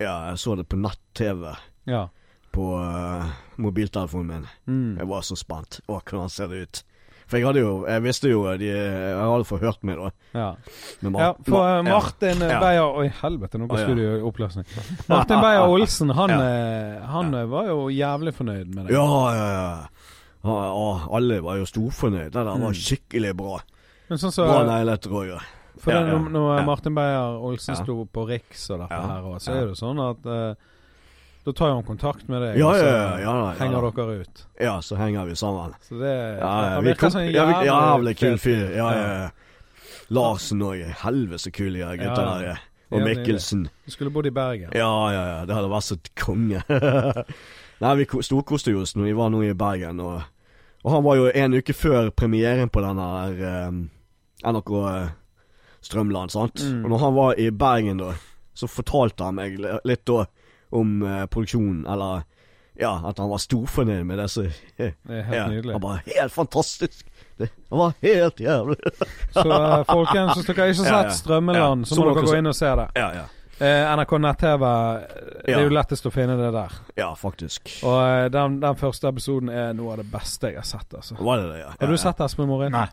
Speaker 2: Ja, jeg så det på nett-TV
Speaker 1: Ja.
Speaker 2: på eh, mobiltelefonen min.
Speaker 1: Mm.
Speaker 2: Jeg var så spent. Å, hvordan ser det ut? For jeg hadde jo Jeg visste jo de, Jeg hadde forhørt meg, da.
Speaker 1: ja.
Speaker 2: Med Mar-
Speaker 1: Ja, for eh,
Speaker 2: Mar- ja.
Speaker 1: Martin eh,
Speaker 2: Ja.
Speaker 1: Beyer Oi, helvete, nå går
Speaker 2: Å, ja.
Speaker 1: studio i oppløsning. Martin
Speaker 2: [LAUGHS]
Speaker 1: Beyer Olsen, han, eh, han eh, var jo jævlig fornøyd med det.
Speaker 2: Ja, ja, ja. Ja, ja, alle var jo storfornøyd. Det der var skikkelig bra.
Speaker 1: Men sånn Mm. så,
Speaker 2: Bra neglet, Roger.
Speaker 1: for
Speaker 2: ja,
Speaker 1: det,
Speaker 2: ja,
Speaker 1: når, når
Speaker 2: ja.
Speaker 1: Martin Beyer Olsen
Speaker 2: Ja.
Speaker 1: sto på Riks og dette
Speaker 2: Ja,
Speaker 1: her òg, så
Speaker 2: ja.
Speaker 1: er det jo sånn at eh, da tar jo han kontakt med deg,
Speaker 2: Ja,
Speaker 1: og så
Speaker 2: ja, ja, ja, ja.
Speaker 1: henger dere ut.
Speaker 2: Ja, så henger vi sammen.
Speaker 1: Så det
Speaker 2: Ja, ja,
Speaker 1: han
Speaker 2: vi
Speaker 1: virker
Speaker 2: kom,
Speaker 1: som en
Speaker 2: ja, vi, jævlig kul
Speaker 1: fet-
Speaker 2: fyr. Ja, ja, ja. Larsen òg. Helvete så kule de gutta
Speaker 1: Ja,
Speaker 2: der er. Og
Speaker 1: Helt nydelig.
Speaker 2: Mikkelsen.
Speaker 1: Du skulle bodd i Bergen.
Speaker 2: Ja, ja, ja. Det hadde vært så konge. [LAUGHS] Nei, vi ko- storkoste jo oss når vi var nå i Bergen, og, og han var jo en uke før premieren på den her eh, NRK eh, Strømland, sant.
Speaker 1: Mm.
Speaker 2: Og når han var i Bergen, da, så fortalte han meg li- litt da om eh, produksjonen, eller ja, at han var storfornøyd med det. Så,
Speaker 1: Det er helt
Speaker 2: ja,
Speaker 1: nydelig.
Speaker 2: Han bare Helt fantastisk! Det det var
Speaker 1: [LAUGHS]
Speaker 2: helt jævlig.
Speaker 1: Så eh, folkens, hvis dere ikke har
Speaker 2: [LAUGHS] Ja, ja.
Speaker 1: sett Strømmeland,
Speaker 2: Ja,
Speaker 1: så
Speaker 2: så
Speaker 1: må
Speaker 2: dere
Speaker 1: dere gå
Speaker 2: se-
Speaker 1: inn og se det.
Speaker 2: Ja, ja.
Speaker 1: Eh, NRK nett-TV, eh, det er jo
Speaker 2: Ja.
Speaker 1: lettest å finne det der.
Speaker 2: Ja, faktisk.
Speaker 1: Og eh, den, den første episoden er noe av det beste jeg har sett. altså
Speaker 2: Var det det, ja?
Speaker 1: Har
Speaker 2: Ja,
Speaker 1: du sett Espen Morin?
Speaker 3: Nei.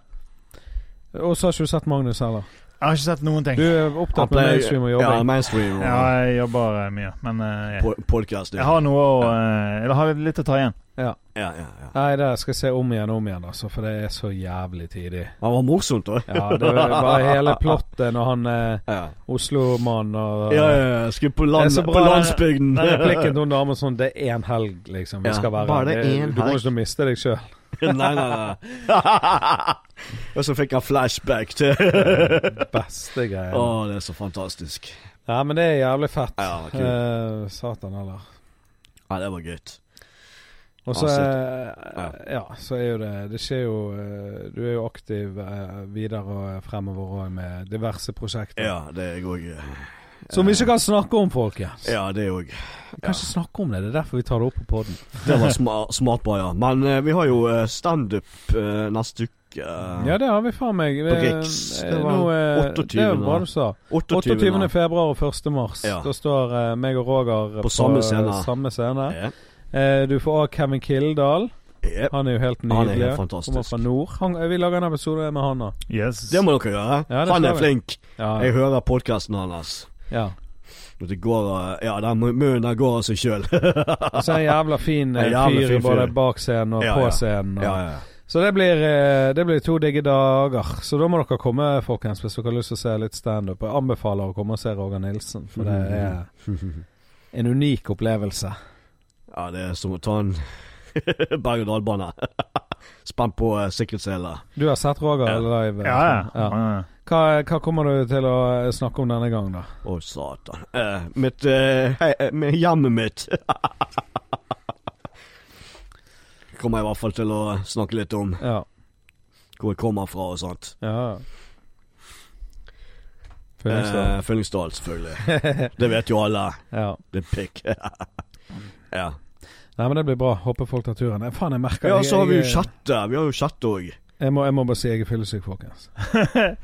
Speaker 1: Og så har ikke du sett Magnus heller.
Speaker 3: Jeg har ikke sett noen
Speaker 1: Du
Speaker 3: ting.
Speaker 1: er
Speaker 2: ja.
Speaker 1: opptatt med mainstream og
Speaker 2: Ja,
Speaker 1: jobbing.
Speaker 2: mainstream og
Speaker 3: Ja, jeg jobber eh, mye, men eh,
Speaker 2: po- podcast, ja.
Speaker 3: jeg har noe å eh, Eller har litt å ta igjen.
Speaker 1: Ja.
Speaker 2: Ja, ja, ja.
Speaker 1: Nei, det skal jeg se om igjen og om igjen, altså, for det er så jævlig tidlig.
Speaker 2: Det var morsomt, da.
Speaker 1: Ja, [LAUGHS] det er bare hele plottet når han eh,
Speaker 2: Ja,
Speaker 1: Oslo-mannen og
Speaker 2: ja, ja. ja. Skulle på,
Speaker 1: Det er
Speaker 2: land,
Speaker 1: så bra,
Speaker 2: på landsbygden.
Speaker 1: Den
Speaker 2: [LAUGHS]
Speaker 1: replikken til hun damen sånn Det er én helg, liksom. Vi
Speaker 2: Ja,
Speaker 1: skal være
Speaker 2: bare
Speaker 1: det,
Speaker 2: én
Speaker 1: Du kommer
Speaker 2: helg.
Speaker 1: ikke til å miste deg
Speaker 2: [LAUGHS]
Speaker 1: sjøl.
Speaker 2: nei, nei, nei. [LAUGHS] og så fikk han flashback til Å,
Speaker 1: Beste greia.
Speaker 2: det er så fantastisk.
Speaker 1: Ja, men det er jævlig fett.
Speaker 2: Ja, det var
Speaker 1: Eh, satan heller.
Speaker 2: Ja, det var gøyt.
Speaker 1: Og så
Speaker 2: Ja,
Speaker 1: eh, ja, så er jo det Det skjer jo eh, Du er jo aktiv eh, videre og fremover òg med diverse prosjekter.
Speaker 2: Ja, det er òg
Speaker 1: Som vi ikke kan snakke om, folkens.
Speaker 2: Ja, det òg.
Speaker 1: Vi kan ikke snakke om det. Det er derfor vi tar det opp på poden.
Speaker 2: [LAUGHS] Det var sma smart bra, ja. Men eh, vi har jo eh, standup eh, neste uke. eh,
Speaker 1: Ja, det har vi faen meg. Vi-
Speaker 2: På Riks. Det
Speaker 1: eh,
Speaker 2: var
Speaker 1: nå, eh,
Speaker 2: 28.
Speaker 1: Det var bra du sa.
Speaker 2: 28.
Speaker 1: 28. februar og 1. mars.
Speaker 2: Ja.
Speaker 1: Da står eh, meg og Roger
Speaker 2: På samme scene.
Speaker 1: samme scene.
Speaker 2: Ja.
Speaker 1: Eh, du får òg Kevin Kildahl.
Speaker 2: Jep.
Speaker 1: Han er jo helt
Speaker 2: Han er
Speaker 1: nydelig.
Speaker 2: helt fantastisk.
Speaker 1: Kommer fra nord. Han, eh, vi lager en episode med han da.
Speaker 3: Yes.
Speaker 2: Det må dere gjøre.
Speaker 1: Ja, det
Speaker 2: han
Speaker 1: skal
Speaker 2: er
Speaker 1: vi.
Speaker 2: flink. Jeg
Speaker 1: Ja,
Speaker 2: hører podkasten hans.
Speaker 1: ja.
Speaker 2: Og Det går eh, Ja, den mu- munnen den går av seg sjøl.
Speaker 1: Og så en jævla fin eh,
Speaker 2: [LAUGHS] En jævla
Speaker 1: fyr
Speaker 2: fin fyr.
Speaker 1: både bak scenen og
Speaker 2: Ja,
Speaker 1: på
Speaker 2: ja.
Speaker 1: scenen. Og.
Speaker 2: ja, ja.
Speaker 1: Så det blir, eh, det blir to digge dager. Så da må dere komme, folkens, hvis dere har lyst til å se litt standup. Jeg anbefaler å komme og se Roger Nilsen, for det
Speaker 2: [LAUGHS]
Speaker 1: er en unik opplevelse.
Speaker 2: ja, det er som å ta en [LAUGHS] berg-og-dal-bane. [LAUGHS] Spent på uh, sikkerhetsseler.
Speaker 1: Du har sett Roger live? eh,
Speaker 3: Ja, ja.
Speaker 1: ja. Hva, hva kommer du til å eh, snakke om denne gangen, da?
Speaker 2: Å, satan. Eh, mitt eh, hei, eh, med Hjemmet mitt. [LAUGHS] kommer jeg i hvert fall til å snakke litt om
Speaker 1: Ja.
Speaker 2: hvor jeg kommer fra og sånt.
Speaker 1: ja. Fyllingsdag.
Speaker 2: Eh, Fyllingsdal, selvfølgelig. det vet jo alle.
Speaker 1: Ja.
Speaker 2: Det er pikk. [LAUGHS] ja.
Speaker 1: Nei, men det blir bra. Håper folk tar turen. Eh, Faen, jeg merker
Speaker 2: ja,
Speaker 1: jeg-
Speaker 2: så har vi jo
Speaker 1: jeg-
Speaker 2: chatte. Vi har jo chatte òg.
Speaker 1: Jeg må, jeg må bare si jeg er fyllesyk,
Speaker 2: [LAUGHS]
Speaker 1: folkens.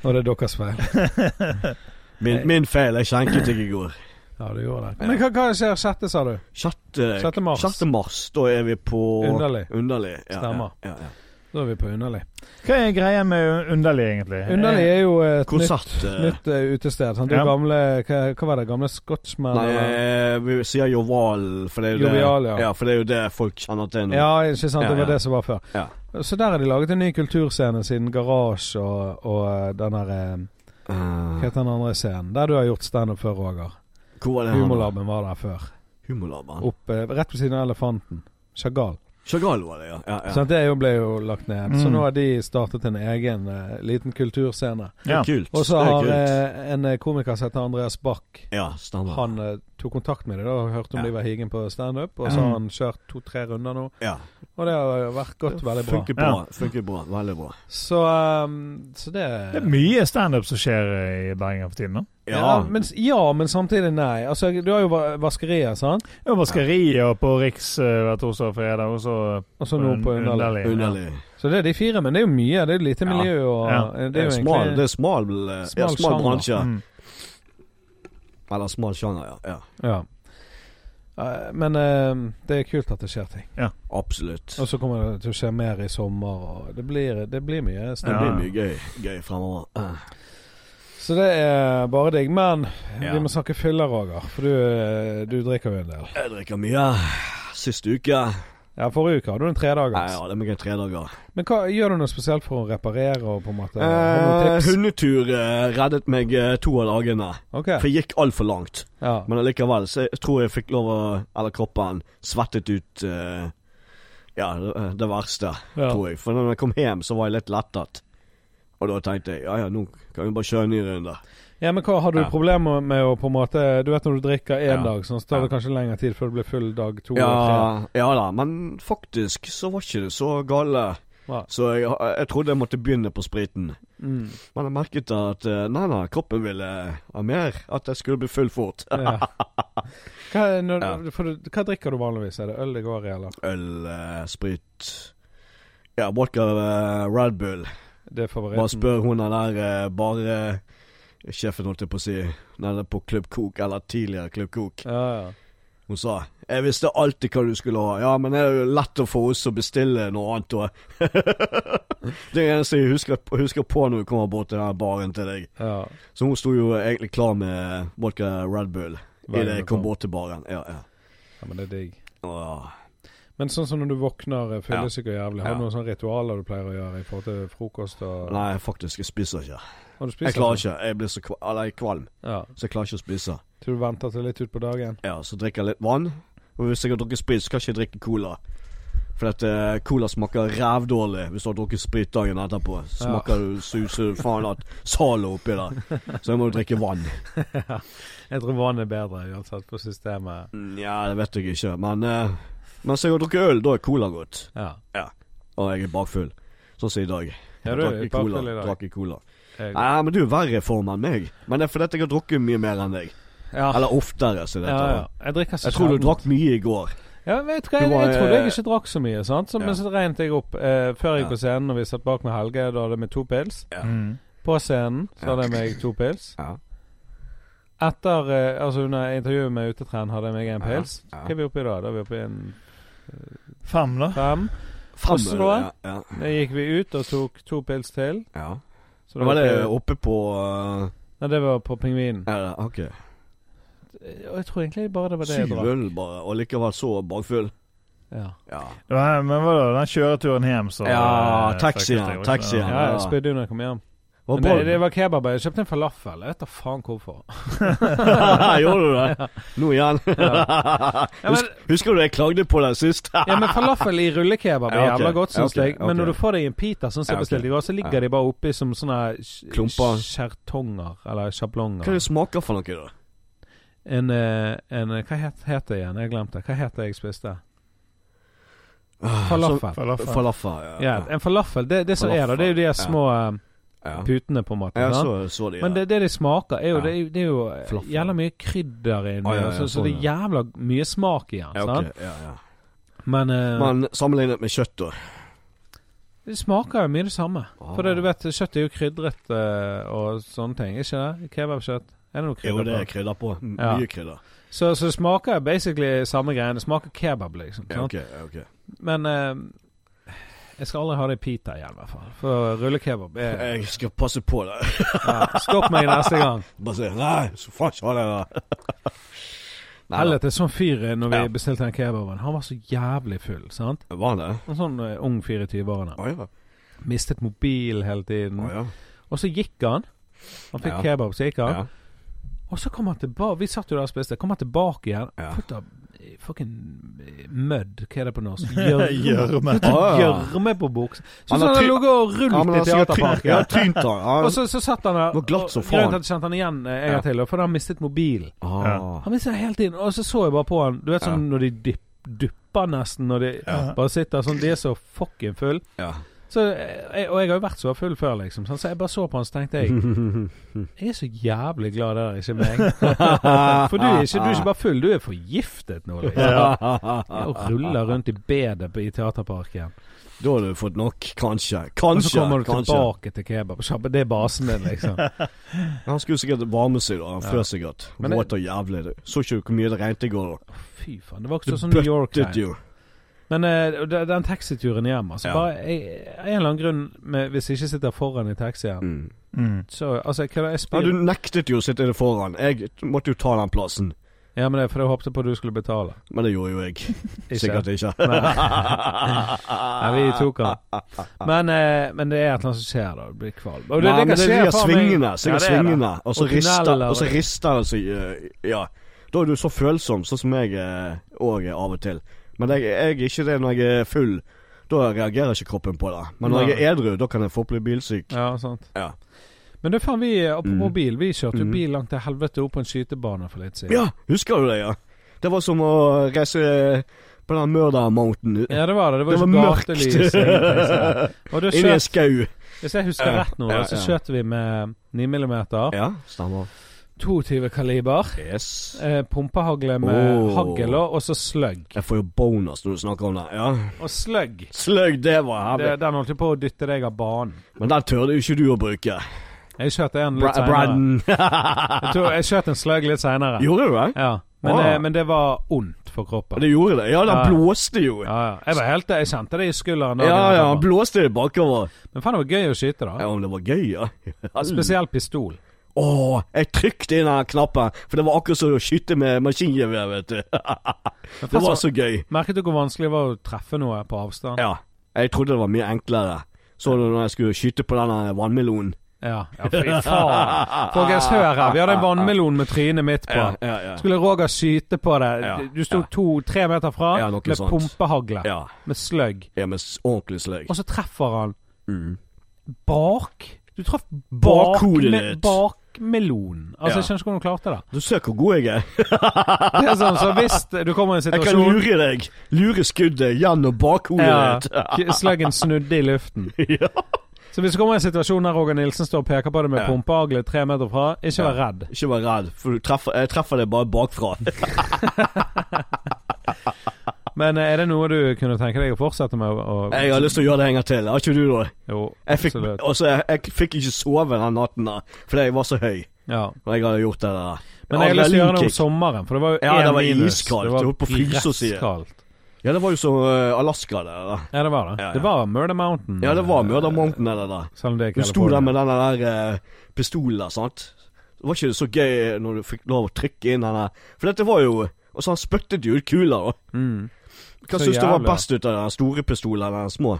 Speaker 1: Og det er deres feil.
Speaker 2: Min, min feil. Jeg skjenket ikke i går.
Speaker 1: Ja, du gjorde det. Men hva, hva skjer sjette, sa du?
Speaker 2: 6.
Speaker 1: 6. mars.
Speaker 2: Eh, mars. Da er vi på
Speaker 1: Underlig.
Speaker 2: Underlig. Ja,
Speaker 1: Stemmer.
Speaker 2: Ja, ja, ja.
Speaker 1: Da er vi på Underlig.
Speaker 3: Hva er greia med Underlig, egentlig?
Speaker 2: Eh,
Speaker 1: Underlig er jo et nytt,
Speaker 2: Konsert. eh,
Speaker 1: nytt eh, utested. Sant? Det
Speaker 3: Ja.
Speaker 1: gamle hva, hva var det? Gamle Scotsman?
Speaker 2: Nei,
Speaker 1: eller-
Speaker 2: eh, vi sier joval, for det er jo
Speaker 1: Jovial,
Speaker 2: det
Speaker 1: ja.
Speaker 2: ja. for det er jo det folk kjenner til nå.
Speaker 1: Ja, ikke sant. Det
Speaker 2: Ja,
Speaker 1: var
Speaker 2: ja.
Speaker 1: det som var før.
Speaker 2: Ja.
Speaker 1: Så der har de laget en ny kulturscene siden Garasje og, og eh, den her eh, Hva
Speaker 2: Eh,
Speaker 1: heter den andre scenen? Der du har gjort standup før, Roger.
Speaker 2: hvor var det han?
Speaker 1: Humorlaben var der før.
Speaker 2: Humorlaben.
Speaker 1: Opp, eh, rett ved siden av Elefanten. Chagall.
Speaker 2: Chagall var det, ja. ja, ja.
Speaker 1: Sant, det jo ble jo lagt ned. Så
Speaker 3: Mm.
Speaker 1: nå har de startet en egen eh, liten kulturscene.
Speaker 2: Det
Speaker 3: Eh, Ja.
Speaker 2: er kult.
Speaker 1: Og så
Speaker 2: det er
Speaker 1: har
Speaker 2: kult.
Speaker 1: eh, en eh, komiker som heter Andreas Bach
Speaker 2: ja, stemmer.
Speaker 1: Han eh, tok kontakt med dem og hørte om
Speaker 2: Ja.
Speaker 1: de var higen på standup. Og
Speaker 3: Mm.
Speaker 1: så har han kjørt to-tre runder nå,
Speaker 2: ja.
Speaker 1: og det har vært gått veldig bra.
Speaker 2: Funker bra. Funker bra. Veldig bra.
Speaker 1: Så, eh, så det
Speaker 3: Det er mye standup som skjer eh, i Bergen for tiden. nå.
Speaker 2: Ja.
Speaker 1: men, ja, men samtidig nei. Altså, du har jo va- vaskeriet, sant?
Speaker 3: Det er Vaskeriet og på Riks eh, hver torsdag og fredag, og så
Speaker 1: Og så noe på Underlig.
Speaker 2: Underlig.
Speaker 1: Så det er de fire, men det er jo mye. Det er lite
Speaker 2: Ja.
Speaker 1: miljø og
Speaker 3: Ja.
Speaker 1: eh,
Speaker 2: Det er,
Speaker 1: jo
Speaker 2: smal, det
Speaker 1: egentlig
Speaker 2: er smal, eh, ja,
Speaker 1: Smal
Speaker 2: smal
Speaker 1: sjanger.
Speaker 2: bransje.
Speaker 3: Mm.
Speaker 2: Eller smal sjanger, ja. ja.
Speaker 1: ja. Eh, Men eh, det er kult at det skjer ting.
Speaker 2: Absolutt.
Speaker 1: Og så kommer det til å skje mer i sommer, og det blir, det blir mye.
Speaker 2: Det
Speaker 1: snakk.
Speaker 2: blir
Speaker 3: Ja.
Speaker 2: mye gøy, gøy fremover. Eh,
Speaker 1: Så det er bare digg. Men
Speaker 2: Ja.
Speaker 1: vi må snakke fyller, Roger, for du, eh, du drikker jo en del.
Speaker 2: Jeg drikker mye. Sist uke
Speaker 1: Ja, Forrige uke hadde du en
Speaker 2: Nei,
Speaker 1: tredagers.
Speaker 2: ja, det er mye tre dager.
Speaker 1: Men hva gjør du noe spesielt for å reparere og på en måte Har du noen
Speaker 2: Eh,
Speaker 1: tips?
Speaker 2: hundetur eh, reddet meg eh, to av dagene.
Speaker 1: Ok.
Speaker 2: For jeg gikk altfor langt.
Speaker 1: Ja.
Speaker 2: Men allikevel så jeg tror jeg fikk lov å Eller kroppen svettet ut eh, Ja, det, det verste,
Speaker 1: Ja.
Speaker 2: tror jeg. For når jeg kom hjem, så var jeg litt lettet. Og da tenkte jeg ja ja, nå kan vi bare kjøre en ny runde.
Speaker 1: ja, men hva har du
Speaker 2: Ja.
Speaker 1: problemer med å på en måte Du vet når du drikker én
Speaker 2: Ja.
Speaker 1: dag, sånn, så tar det
Speaker 2: Ja.
Speaker 1: kanskje lengre tid før du blir full dag to
Speaker 2: Ja,
Speaker 1: og tre.
Speaker 2: ja da, men faktisk så var ikke det så gale.
Speaker 1: Hva?
Speaker 2: Så jeg, jeg trodde jeg måtte begynne på spriten.
Speaker 1: Mm.
Speaker 2: Men jeg merket at eh, nei, nei, kroppen ville ha mer. At jeg skulle bli full fort. [LAUGHS]
Speaker 1: Ja. Hva, er- når,
Speaker 2: Ja.
Speaker 1: for, du- hva drikker du vanligvis? Er det øl det går i, eller?
Speaker 2: Øl, eh, sprit Ja, vodka eh, Red Bull.
Speaker 1: Det er
Speaker 2: Bare
Speaker 1: favoritten?
Speaker 2: spør hun der eh, bare Sjefen holdt jeg på å si, nede på Club Cook, eller tidligere Club Cook.
Speaker 1: Ja, ja.
Speaker 2: Hun sa 'Jeg visste alltid hva du skulle ha'. Ja, men det er jo lett å få oss å bestille noe annet [LAUGHS] òg. det eneste jeg husker, husker på når vi kommer bort til den baren til deg.
Speaker 1: ja.
Speaker 2: Så hun sto jo egentlig klar med vodka Red Bull
Speaker 1: Hver
Speaker 2: idet
Speaker 1: gang
Speaker 2: jeg
Speaker 1: du kom.
Speaker 2: kom bort til baren. Ja, ja.
Speaker 1: Ja, men det er digg.
Speaker 2: Åh.
Speaker 1: Men sånn som når du våkner eh, fyllesyk og jævlig, har du
Speaker 2: Ja.
Speaker 1: noen sånne ritualer du pleier å gjøre i forhold til frokost og
Speaker 2: Nei, faktisk, jeg spiser ikke.
Speaker 1: Har du spist
Speaker 2: Jeg klarer ikke. Jeg blir så kva- eller, jeg er kvalm,
Speaker 1: Ja.
Speaker 2: så jeg klarer ikke å spise.
Speaker 1: Til du venter til litt utpå dagen?
Speaker 2: Ja, Så drikker jeg litt vann. Og hvis jeg har drukket sprit, så kan jeg ikke drikke cola. For at eh, cola smaker rævdårlig hvis du har drukket sprit dagen etterpå.
Speaker 1: Ja.
Speaker 2: Smaker du suser du faen at Zalo oppi der. Så jeg må jo drikke vann.
Speaker 1: Jeg tror vann er bedre uansett for systemet.
Speaker 2: Nja, det vet jeg ikke. Men eh, mens jeg har drukket øl, da er cola godt.
Speaker 1: Ja.
Speaker 2: Og jeg er bakfull. Sånn som i dag.
Speaker 1: Ja,
Speaker 2: Jeg
Speaker 1: du er
Speaker 2: drakk i
Speaker 1: bakfull
Speaker 2: cola.
Speaker 1: i dag.
Speaker 2: Drakk i cola.
Speaker 1: Jeg,
Speaker 2: Nei, men du er verre i form enn meg. Men det er fordi at jeg har drukket mye mer enn deg.
Speaker 1: ja.
Speaker 2: Eller oftere, så dette.
Speaker 1: ja, ja. Jeg drikker så
Speaker 2: Jeg tror du
Speaker 1: sjelden.
Speaker 2: drakk mye i går.
Speaker 1: Ja, men vet du hva, jeg,
Speaker 2: Du var,
Speaker 1: jeg trodde jeg
Speaker 2: eh,
Speaker 1: ikke drakk så mye, sant? Så,
Speaker 2: ja.
Speaker 1: men så regnet jeg opp eh, før jeg gikk
Speaker 2: Ja.
Speaker 1: på scenen, når vi satt bak med Helge, da hadde jeg med to pils.
Speaker 3: Mm.
Speaker 1: På scenen så
Speaker 2: Ja.
Speaker 1: hadde jeg meg to pils.
Speaker 2: Ja.
Speaker 1: Etter eh, Altså under intervjuet med Utetren hadde jeg meg en
Speaker 2: Ja.
Speaker 1: pils.
Speaker 2: Ja.
Speaker 1: Hva er vi oppe i da? Da er vi oppe i en
Speaker 3: Fem, da?
Speaker 1: fem.
Speaker 2: Fem
Speaker 1: Også
Speaker 2: øl,
Speaker 1: noe?
Speaker 2: Ja, ja,
Speaker 1: Da gikk vi ut og tok to pils til.
Speaker 2: ja.
Speaker 1: Så
Speaker 2: Var det
Speaker 1: oppe-
Speaker 2: oppe på uh,
Speaker 1: Nei, det var på Pingvinen.
Speaker 2: ja, da, Ok.
Speaker 1: Og jeg tror egentlig bare det var det jeg
Speaker 2: Syv
Speaker 1: drakk.
Speaker 2: øl bare, og likevel så bakfull.
Speaker 1: Ja.
Speaker 2: Ja.
Speaker 3: Det var, men hva da? Den kjøreturen hjem, så
Speaker 2: Ja,
Speaker 3: eh,
Speaker 2: taxi,
Speaker 3: fucket jeg
Speaker 2: ja,
Speaker 3: opp.
Speaker 2: taxi,
Speaker 1: Ja,
Speaker 2: ja.
Speaker 1: jeg spydde jo når jeg kom hjem.
Speaker 2: Var
Speaker 1: Men det,
Speaker 2: bra.
Speaker 1: det
Speaker 2: [LAUGHS]
Speaker 1: var kebab. Jeg kjøpte en falafel. Jeg vet da faen hvorfor.
Speaker 2: Gjorde du det? Nå igjen.
Speaker 1: Ja, men-
Speaker 2: [LAUGHS] Husk, husker du jeg klagde på deg sist?
Speaker 1: Ja, men falafel i rullekebab er
Speaker 2: Ja, ok.
Speaker 1: jævla godt,
Speaker 2: Ja,
Speaker 1: syns
Speaker 2: ok,
Speaker 1: jeg. Men
Speaker 2: ok.
Speaker 1: når du får det i en pita, sånn som
Speaker 2: Ja,
Speaker 1: jeg bestilte i går, så ligger
Speaker 2: Ja.
Speaker 1: de bare oppi som sånne sk-
Speaker 2: Klumper.
Speaker 1: skjertonger, eller sjablonger.
Speaker 2: Hva er det smaker for noe, da?
Speaker 1: En, eh, en eh, Hva het, het det igjen? Jeg glemte. Hva het det jeg spiste? Falafel.
Speaker 3: Falafel.
Speaker 2: Ah, Falafel.
Speaker 1: Ja, en falafel, det, det som er der, det er jo de her
Speaker 2: Falafel, ja.
Speaker 1: små eh,
Speaker 2: ja.
Speaker 1: putene, på en måte.
Speaker 2: Jeg
Speaker 1: sant?
Speaker 2: så, så de, ja.
Speaker 1: Men det, det de smaker, er jo,
Speaker 2: Ja.
Speaker 1: det, er jo- det er jo eh,
Speaker 2: Falafel.
Speaker 1: jævla mye krydder inni,
Speaker 2: Ah, ja, ja,
Speaker 1: så, så
Speaker 2: sånn,
Speaker 1: det er jævla mye smak i den.
Speaker 2: ja,
Speaker 1: sant?
Speaker 2: ok, ja, ja.
Speaker 1: Men, eh,
Speaker 2: Men sammenlignet med kjøtt, da?
Speaker 1: det smaker jo mye det samme.
Speaker 2: Ah.
Speaker 1: For det, du vet, kjøtt er jo krydret eh, og sånne ting, ikke det? Kebabkjøtt. Er det noe
Speaker 2: Ah. Jo,
Speaker 1: krydder
Speaker 2: det er
Speaker 1: på?
Speaker 2: krydder på. M-
Speaker 1: Mm. Ja.
Speaker 2: Mye krydder.
Speaker 1: Så, så det smaker basically samme greien. Det smaker kebab, liksom.
Speaker 2: Ja,
Speaker 1: sant?
Speaker 2: ok, ja, ok.
Speaker 1: Men eh, jeg skal aldri ha det i pita igjen, i hvert fall. For rullekebab
Speaker 2: [LAUGHS]
Speaker 1: er
Speaker 2: Jeg skal passe på det. [LAUGHS]
Speaker 1: ja, Stopp meg neste gang.
Speaker 2: Bare si [LAUGHS] nei, så faen ikke ha det der. Nei,
Speaker 1: Helvete, sånn fyr eh, når vi
Speaker 2: Ja.
Speaker 1: bestilte den kebaben, han var så jævlig full, sant?
Speaker 2: da. Var det?
Speaker 1: En sånn eh, ung fyr i 20-årene.
Speaker 2: Å ja.
Speaker 1: Mistet mobilen hele tiden.
Speaker 2: Å, ja.
Speaker 1: Og så gikk han. Han fikk
Speaker 2: Ja.
Speaker 1: kebab, så gikk han.
Speaker 2: ja.
Speaker 1: Og så kom han tilbake Vi satt jo der og spiste. Kom han tilbake igjen.
Speaker 2: Ja.
Speaker 1: Fullt av eh, fucking eh, mud. Hva er det på
Speaker 2: [LAUGHS]
Speaker 1: norsk?
Speaker 3: [LAUGHS]
Speaker 1: Gjørme. [LAUGHS]
Speaker 3: Gjørme.
Speaker 1: Fullt av
Speaker 2: Ah, ja.
Speaker 1: Gjørme på buksa.
Speaker 2: Han
Speaker 1: Sånn som
Speaker 2: har
Speaker 1: han har
Speaker 2: ty-
Speaker 1: ligget og
Speaker 2: Ja, men
Speaker 1: rullet i
Speaker 2: han sikkert tynt- Ja,
Speaker 1: teaterparken.
Speaker 2: tynt da. Ja.
Speaker 1: [LAUGHS] Og så, så satt han der.
Speaker 2: Det var glatt som
Speaker 1: og- Grunnen til
Speaker 2: faen.
Speaker 1: at jeg kjente han igjen eh, en
Speaker 2: Ja.
Speaker 1: gang til, var fordi han mistet mobilen.
Speaker 2: Ah.
Speaker 3: Ja.
Speaker 1: Han mistet den hele tiden. Og så så jeg bare på han. Du vet sånn når de dypp, dupper nesten, når de
Speaker 3: Ja.
Speaker 1: bare sitter sånn. De er så fucking full.
Speaker 2: Ja.
Speaker 1: Så, eh, og jeg har jo vært så full før, liksom. sånn, Så jeg bare så på han, så tenkte
Speaker 2: Mhm.
Speaker 1: jeg Jeg er så jævlig glad det der ikke er meg. [LAUGHS] [LAUGHS] For du er ikke, du er ikke bare full, du er forgiftet nå, liksom. Og ruller rundt i bedet på- i teaterparken.
Speaker 2: Da har du fått nok, kanskje.
Speaker 1: Og så
Speaker 2: Kanskje.
Speaker 1: kommer du
Speaker 2: kanskje.
Speaker 1: tilbake til kebabsjappa. Det er basen din,
Speaker 2: [LAUGHS]
Speaker 1: liksom.
Speaker 2: Han skulle sikkert varme seg, da. Han frøs sikkert.
Speaker 1: Men det-
Speaker 2: Våt og jævlig. du. Så ikke du hvor mye det regnet i går? da?
Speaker 1: Fy faen. Det var ikke
Speaker 2: Det
Speaker 1: så sånn New
Speaker 2: Did
Speaker 1: York-tegn.
Speaker 2: you?
Speaker 1: Men eh, de- den taxituren hjem, altså.
Speaker 2: Ja.
Speaker 1: Bare, jeg, av en eller annen grunn, med, hvis jeg ikke sitter foran i taxien
Speaker 2: Mm.
Speaker 3: Mm.
Speaker 1: Så altså, hva er det jeg
Speaker 2: Ja,
Speaker 1: spyr
Speaker 2: du nektet jo å sitte det foran. Jeg måtte jo ta den plassen.
Speaker 1: Ja, men det er fordi jeg håpte på at du skulle betale.
Speaker 2: Men det gjorde jo jeg.
Speaker 1: Ikke?
Speaker 2: Sikkert ikke.
Speaker 1: [LAUGHS] Nei, vi tok
Speaker 2: [LAUGHS]
Speaker 1: han. Men, eh, men det er et eller annet som skjer, da. Du blir kvalm. Og
Speaker 2: Nei,
Speaker 1: kan
Speaker 2: men det
Speaker 1: skje,
Speaker 2: er de
Speaker 1: faen meg-
Speaker 2: svingene.
Speaker 1: Ja,
Speaker 2: Sikkert
Speaker 1: det er det.
Speaker 2: svingene. Og så
Speaker 1: Og
Speaker 2: rister,
Speaker 1: tunneler.
Speaker 2: og så rister det seg eh, Ja. Da er du så følsom, sånn som jeg òg er av og til. Men jeg, jeg er ikke det når jeg er full. Da reagerer ikke kroppen på det. Men når
Speaker 1: Nei.
Speaker 2: jeg er edru, da kan jeg få bli bilsyk.
Speaker 1: Ja, sant.
Speaker 2: Ja.
Speaker 1: Men det fant vi eh, apropos
Speaker 2: Mm.
Speaker 1: bil. Vi kjørte jo
Speaker 2: Mm.
Speaker 1: bil langt til helvete opp på en skytebane for litt siden.
Speaker 2: Ja, husker du det, ja? Det var som å reise på den Murder Mountain.
Speaker 1: Ja, det var det. Det var,
Speaker 2: Det
Speaker 1: jo
Speaker 2: var
Speaker 1: ikke
Speaker 2: mørkt.
Speaker 1: gatelys.
Speaker 2: [LAUGHS]
Speaker 1: ingenting sånn. Og da
Speaker 2: Inn i en
Speaker 1: skjøt,
Speaker 2: skau.
Speaker 1: hvis jeg husker rett nå,
Speaker 2: Ja,
Speaker 1: så
Speaker 2: ja.
Speaker 1: skjøt vi med 9 mm.
Speaker 2: Ja, stemmer.
Speaker 1: 22 kaliber.
Speaker 2: Yes.
Speaker 1: Eh, Pumpehagle med
Speaker 2: Oh.
Speaker 1: hagl og og så sløgg.
Speaker 2: Jeg får jo bonus når du snakker om det. Ja.
Speaker 1: Og sløgg
Speaker 2: Sløgg, det var
Speaker 1: det,
Speaker 2: herlig.
Speaker 1: Den holdt jo på å dytte deg av banen.
Speaker 2: Men den tørde jo ikke du å bruke.
Speaker 1: Jeg skjøt en
Speaker 2: Bra
Speaker 1: litt seinere.
Speaker 2: Brandon.
Speaker 1: Jeg, tror- jeg skjøt en sløgg litt seinere.
Speaker 2: Gjorde du det?
Speaker 1: Ja, men,
Speaker 2: Ah.
Speaker 1: eh, men det var ondt for
Speaker 2: Ja,
Speaker 1: kroppen.
Speaker 2: Det gjorde det. Ja, den
Speaker 1: Ja.
Speaker 2: blåste jo. Ja,
Speaker 1: Ja, ja. Jeg var helt, jeg kjente det i skulderen. dagen
Speaker 2: ja,
Speaker 1: etterpå.
Speaker 2: han blåste det bakover.
Speaker 1: Men faen, det var gøy å skyte,
Speaker 2: Ja,
Speaker 1: da.
Speaker 2: om det var gøy, [LAUGHS] ja.
Speaker 1: Spesielt pistol.
Speaker 2: Åh, jeg trykte inn den knappen, for det var akkurat som å skyte med maskingevær, vet du. [LAUGHS] Det var så gøy.
Speaker 1: Merket du hvor vanskelig det var å treffe noe på avstand?
Speaker 2: Ja, jeg trodde det var mye enklere. Så du når jeg skulle skyte på denne vannmelonen?
Speaker 1: Ja, ja fy faen.
Speaker 2: [LAUGHS]
Speaker 1: Folkens, hør her. Vi hadde en vannmelon med trynet mitt på.
Speaker 2: Ja, ja, ja.
Speaker 1: Skulle Roger skyte på det?
Speaker 2: Ja,
Speaker 1: Du sto
Speaker 2: ja.
Speaker 1: to-tre meter fra
Speaker 2: Ja, noe
Speaker 1: med
Speaker 2: sånt.
Speaker 1: pumpehagle.
Speaker 2: Ja,
Speaker 1: Med sløgg.
Speaker 2: ja med s- ordentlig sløy.
Speaker 1: Og så treffer han
Speaker 2: Mm.
Speaker 1: bak Du traff bak
Speaker 2: Bakhodet
Speaker 1: me-
Speaker 2: ditt.
Speaker 1: bakmelonen. Altså,
Speaker 2: Ja.
Speaker 1: Jeg skjønner ikke hvordan du klarte det.
Speaker 2: Du ser hvor god jeg er. Altså-
Speaker 1: Det er sånn, Så hvis du kommer i en
Speaker 2: [LAUGHS] Jeg kan
Speaker 1: situasjon
Speaker 2: lure deg. Lure skuddet gjennom bakhodet ditt.
Speaker 1: ja, Sløggen snudde i luften.
Speaker 2: [LAUGHS] Ja.
Speaker 1: Så hvis du kommer i en situasjon der Roger Nilsen står og peker på det med
Speaker 2: Ja.
Speaker 1: pumpehagle tre meter fra, ikke vær redd.
Speaker 2: Ikke vær redd, for du treffer, jeg treffer deg bare bakfra.
Speaker 1: Men eh, er det noe du kunne tenke deg å fortsette med? Å, å,
Speaker 2: Jeg har lyst til å gjøre det en gang til. Har ikke du det?
Speaker 1: Jo,
Speaker 2: Jeg fikk,
Speaker 1: absolutt.
Speaker 2: altså, jeg, jeg fikk ikke sove den natten da, fordi jeg var så høy.
Speaker 1: Ja.
Speaker 2: Og jeg hadde gjort det der.
Speaker 1: Men jeg har lyst til å gjøre det om
Speaker 2: Adrenalinkick.
Speaker 1: sommeren, for det var jo
Speaker 2: Ja,
Speaker 1: én
Speaker 2: det var
Speaker 1: minus.
Speaker 2: iskaldt.
Speaker 1: var
Speaker 2: Det var på frysersiden.
Speaker 1: iskaldt.
Speaker 2: Ja, det var jo så eh, Alaska, det der.
Speaker 1: Ja, det var det.
Speaker 2: Ja, ja.
Speaker 1: Det var Murder Mountain.
Speaker 2: Ja, det var
Speaker 1: eh,
Speaker 2: Murder Mountain, det der.
Speaker 1: Selv om det er
Speaker 2: Du sto
Speaker 1: California.
Speaker 2: der med den der eh, pistolen der, sant. Det var ikke det så gøy når du fikk lov å trykke inn den der. For dette var jo Og så han spyttet jo ut kuler. og
Speaker 1: Mm.
Speaker 2: Hva
Speaker 1: Så
Speaker 2: syns du var
Speaker 1: jævlig.
Speaker 2: best ut av den store pistolen eller den små?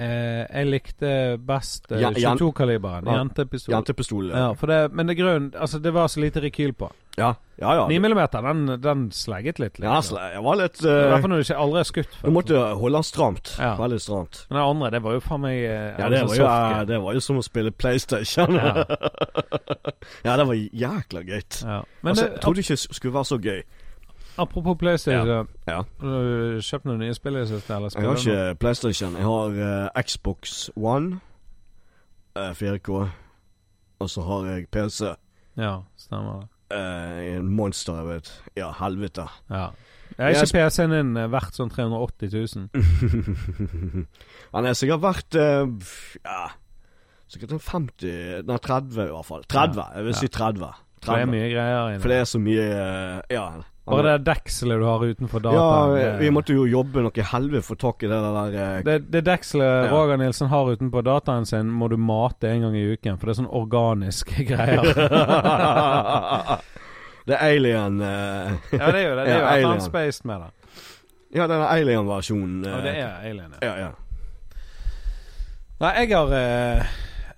Speaker 1: Eh, jeg likte best eh,
Speaker 2: Ja, jan-
Speaker 1: 22-kaliberen.
Speaker 2: Ja.
Speaker 1: Jentepistol.
Speaker 2: Jentepistolen?
Speaker 1: Ja, for det, men det er grunnen Altså, det var så lite rekyl på.
Speaker 2: Ja, ja. ja.
Speaker 1: 9 mm, den, den slegget litt. liksom.
Speaker 2: ja altså, jeg var litt
Speaker 1: I hvert
Speaker 2: eh,
Speaker 1: fall når du ikke aldri har skutt
Speaker 2: Du
Speaker 1: før.
Speaker 2: måtte holde den stramt.
Speaker 1: Ja.
Speaker 2: Veldig stramt.
Speaker 1: Men den andre, det var jo faen meg eh,
Speaker 2: Ja,
Speaker 1: en
Speaker 2: det
Speaker 1: sånn
Speaker 2: var, jo,
Speaker 1: softgun.
Speaker 2: ja, det var jo som å spille PlayStation. [LAUGHS] Ja,
Speaker 1: Ja,
Speaker 2: det var jækla gøy.
Speaker 1: ja. Men eh,
Speaker 2: Altså,
Speaker 1: det,
Speaker 2: jeg trodde ikke det skulle være så gøy.
Speaker 1: apropos PlayStation. eh,
Speaker 2: Ja. Ja.
Speaker 1: Har du kjøpt noen nye spill i det siste? Eller
Speaker 2: Jeg
Speaker 1: spiller
Speaker 2: har
Speaker 1: du noe?
Speaker 2: ikke PlayStation. Jeg har eh, Xbox One, eh, 4K, og så har jeg PC.
Speaker 1: Ja, stemmer det.
Speaker 2: Eh, en monster, jeg vet. Ja, helvete.
Speaker 1: [LAUGHS] Ja. Er
Speaker 2: Jeg Mm,
Speaker 1: ikke PC-en din eh, verdt sånn 380 000?
Speaker 2: Han er sikkert verdt eh, f- ja, sikkert en 50 Nei, 30 i hvert fall. 30, jeg vil
Speaker 1: Ja.
Speaker 2: si 30.
Speaker 1: For det er
Speaker 2: 30.
Speaker 1: mye greier inni.
Speaker 2: For det er så mye eh, Ja. han-
Speaker 1: Bare det dekselet du har utenfor dataen.
Speaker 2: ja, vi
Speaker 1: det-
Speaker 2: måtte jo jobbe noe helvete for å få tak i det der eh,
Speaker 1: eh. det, det dekselet
Speaker 2: Ja.
Speaker 1: Roger Nilsen har utenpå dataen sin, må du mate en gang i uken. For det er sånn organiske [LAUGHS]
Speaker 2: [LAUGHS]
Speaker 1: greier.
Speaker 2: [LAUGHS] Det er alien eh,
Speaker 1: ja, det er jo det. Det er jo et
Speaker 2: Ja,
Speaker 1: eller
Speaker 2: alien.
Speaker 1: annet spaced med det.
Speaker 2: Ja, den alien-versjonen. eh,
Speaker 1: Ja, det er alien, ja.
Speaker 2: ja, ja.
Speaker 1: Nei, jeg har eh,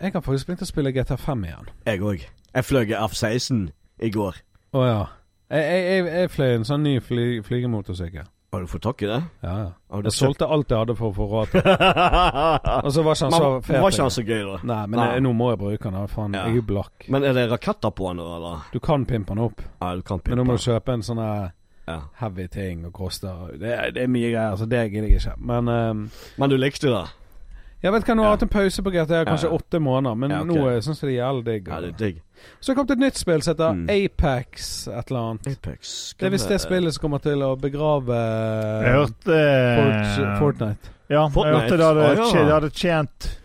Speaker 1: Jeg har faktisk begynt å spille GTA5 igjen.
Speaker 2: Jeg òg. Jeg fløy F-16 i går.
Speaker 1: Å ja. Jeg, jeg, jeg, jeg fløy en sånn ny fly, flygemotorsykkel.
Speaker 2: Har du fått tak i det?
Speaker 1: Ja, ja.
Speaker 2: Har du
Speaker 1: Jeg
Speaker 2: [LAUGHS]
Speaker 1: solgte alt jeg hadde for å få råd. til.
Speaker 2: Men
Speaker 1: Og så var ikke han så fet.
Speaker 2: var ikke han
Speaker 1: lenger.
Speaker 2: så gøy, da?
Speaker 1: Nei, men
Speaker 2: Nei.
Speaker 1: jeg- nå må jeg bruke den. da. Faen,
Speaker 2: Ja.
Speaker 1: jeg er jo blakk.
Speaker 2: Men er det raketter på han, da, eller?
Speaker 1: Du kan pimpe den opp,
Speaker 2: Ja, du kan
Speaker 1: men
Speaker 2: pimpe.
Speaker 1: nå må du kjøpe en sånn her
Speaker 2: Ja.
Speaker 1: heavy ting og koster Det, er- det er mye greier, så det gidder jeg ikke. Men ehm,
Speaker 2: Men du likte det?
Speaker 1: Jeg vet hva, nå har
Speaker 2: Ja.
Speaker 1: jeg hatt en pause på GTA kanskje
Speaker 2: Ja.
Speaker 1: åtte måneder, men
Speaker 2: Ja, ok.
Speaker 1: nå syns jeg det er jævlig digg.
Speaker 2: Ja, det er digg.
Speaker 1: Så kom det et nytt spill som heter
Speaker 2: Mm.
Speaker 1: Apex et eller annet.
Speaker 2: Apex
Speaker 1: Det er visst det spillet som kommer til å begrave
Speaker 3: Jeg hørte
Speaker 1: Fort-
Speaker 3: eh,
Speaker 1: Fortnite.
Speaker 3: Ja,
Speaker 2: Fortnite.
Speaker 3: jeg hørte det hadde,
Speaker 2: Ah, ja.
Speaker 3: tje- det hadde tjent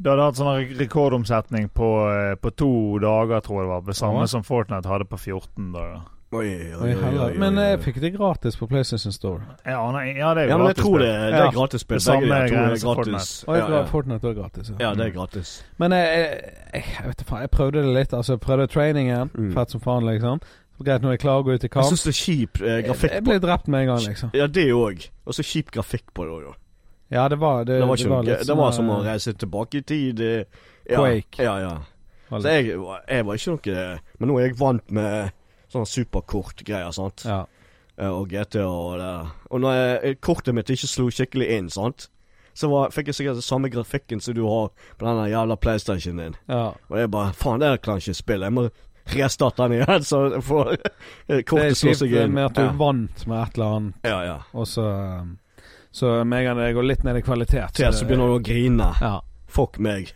Speaker 3: Det hadde hatt sånn re- rekordomsetning på, eh, på to dager, tror jeg det var. Det samme
Speaker 1: Ja.
Speaker 3: som Fortnite hadde på 14 dager.
Speaker 2: Oi, oi,
Speaker 1: Oi,
Speaker 2: oi, oi,
Speaker 1: heller.
Speaker 2: oi, oi.
Speaker 1: Men eh, jeg fikk det gratis på PlayStation Store.
Speaker 3: Jeg aner Ja, det er
Speaker 2: Ja,
Speaker 3: jo
Speaker 2: men jeg
Speaker 3: gratis.
Speaker 2: tror det, det
Speaker 1: Ja.
Speaker 2: er gratis spill.
Speaker 3: Det samme
Speaker 2: Begge de to
Speaker 3: greiene
Speaker 2: er
Speaker 3: som
Speaker 2: gratis.
Speaker 1: Og jeg
Speaker 2: Ja,
Speaker 1: tror
Speaker 2: ja.
Speaker 1: at Fortnite var gratis.
Speaker 2: ja, det er gratis.
Speaker 1: Men jeg, jeg, jeg vet da faen, jeg prøvde det litt. Altså, jeg prøvde trainingen.
Speaker 2: Mm.
Speaker 1: Fett som faen, liksom. Greit, nå er jeg klar å gå ut i
Speaker 2: Jeg
Speaker 1: kamp.
Speaker 2: syns det er kjip eh, grafikk
Speaker 1: Jeg
Speaker 2: på
Speaker 1: ble drept med en gang, liksom.
Speaker 2: Ja, det òg. Og så kjip grafikk på det òg.
Speaker 1: Ja, det var Det,
Speaker 2: Det var, ikke noe
Speaker 1: litt
Speaker 2: gøy. det var
Speaker 1: sånn,
Speaker 2: som å
Speaker 1: eh,
Speaker 2: reise tilbake i tid. eh, Ja,
Speaker 1: Quake.
Speaker 2: Ja, ja.
Speaker 1: var
Speaker 2: Så
Speaker 1: litt-
Speaker 2: jeg, var- jeg var ikke noe Men nå er jeg vant med sånne superkortgreier, sant.
Speaker 1: Ja.
Speaker 2: Eh, Og GT og det. Og når jeg, eh, kortet mitt ikke slo skikkelig inn, sant, så var, fikk jeg sikkert den samme grafikken som du har på den jævla PlayStationen din.
Speaker 1: ja.
Speaker 2: Og jeg bare Faen, det her kan jeg ikke spille. Jeg må restarte den igjen, [LAUGHS] så jeg får eh,
Speaker 1: Det
Speaker 2: kortet
Speaker 1: er
Speaker 2: slår
Speaker 1: kjipt
Speaker 2: seg inn.
Speaker 1: med at du
Speaker 2: ja.
Speaker 1: vant med et eller annet,
Speaker 2: ja, ja.
Speaker 1: og så um, Så med en gang det går litt ned i kvalitet
Speaker 2: Til så begynner du å grine.
Speaker 1: Ja.
Speaker 2: Fuck meg.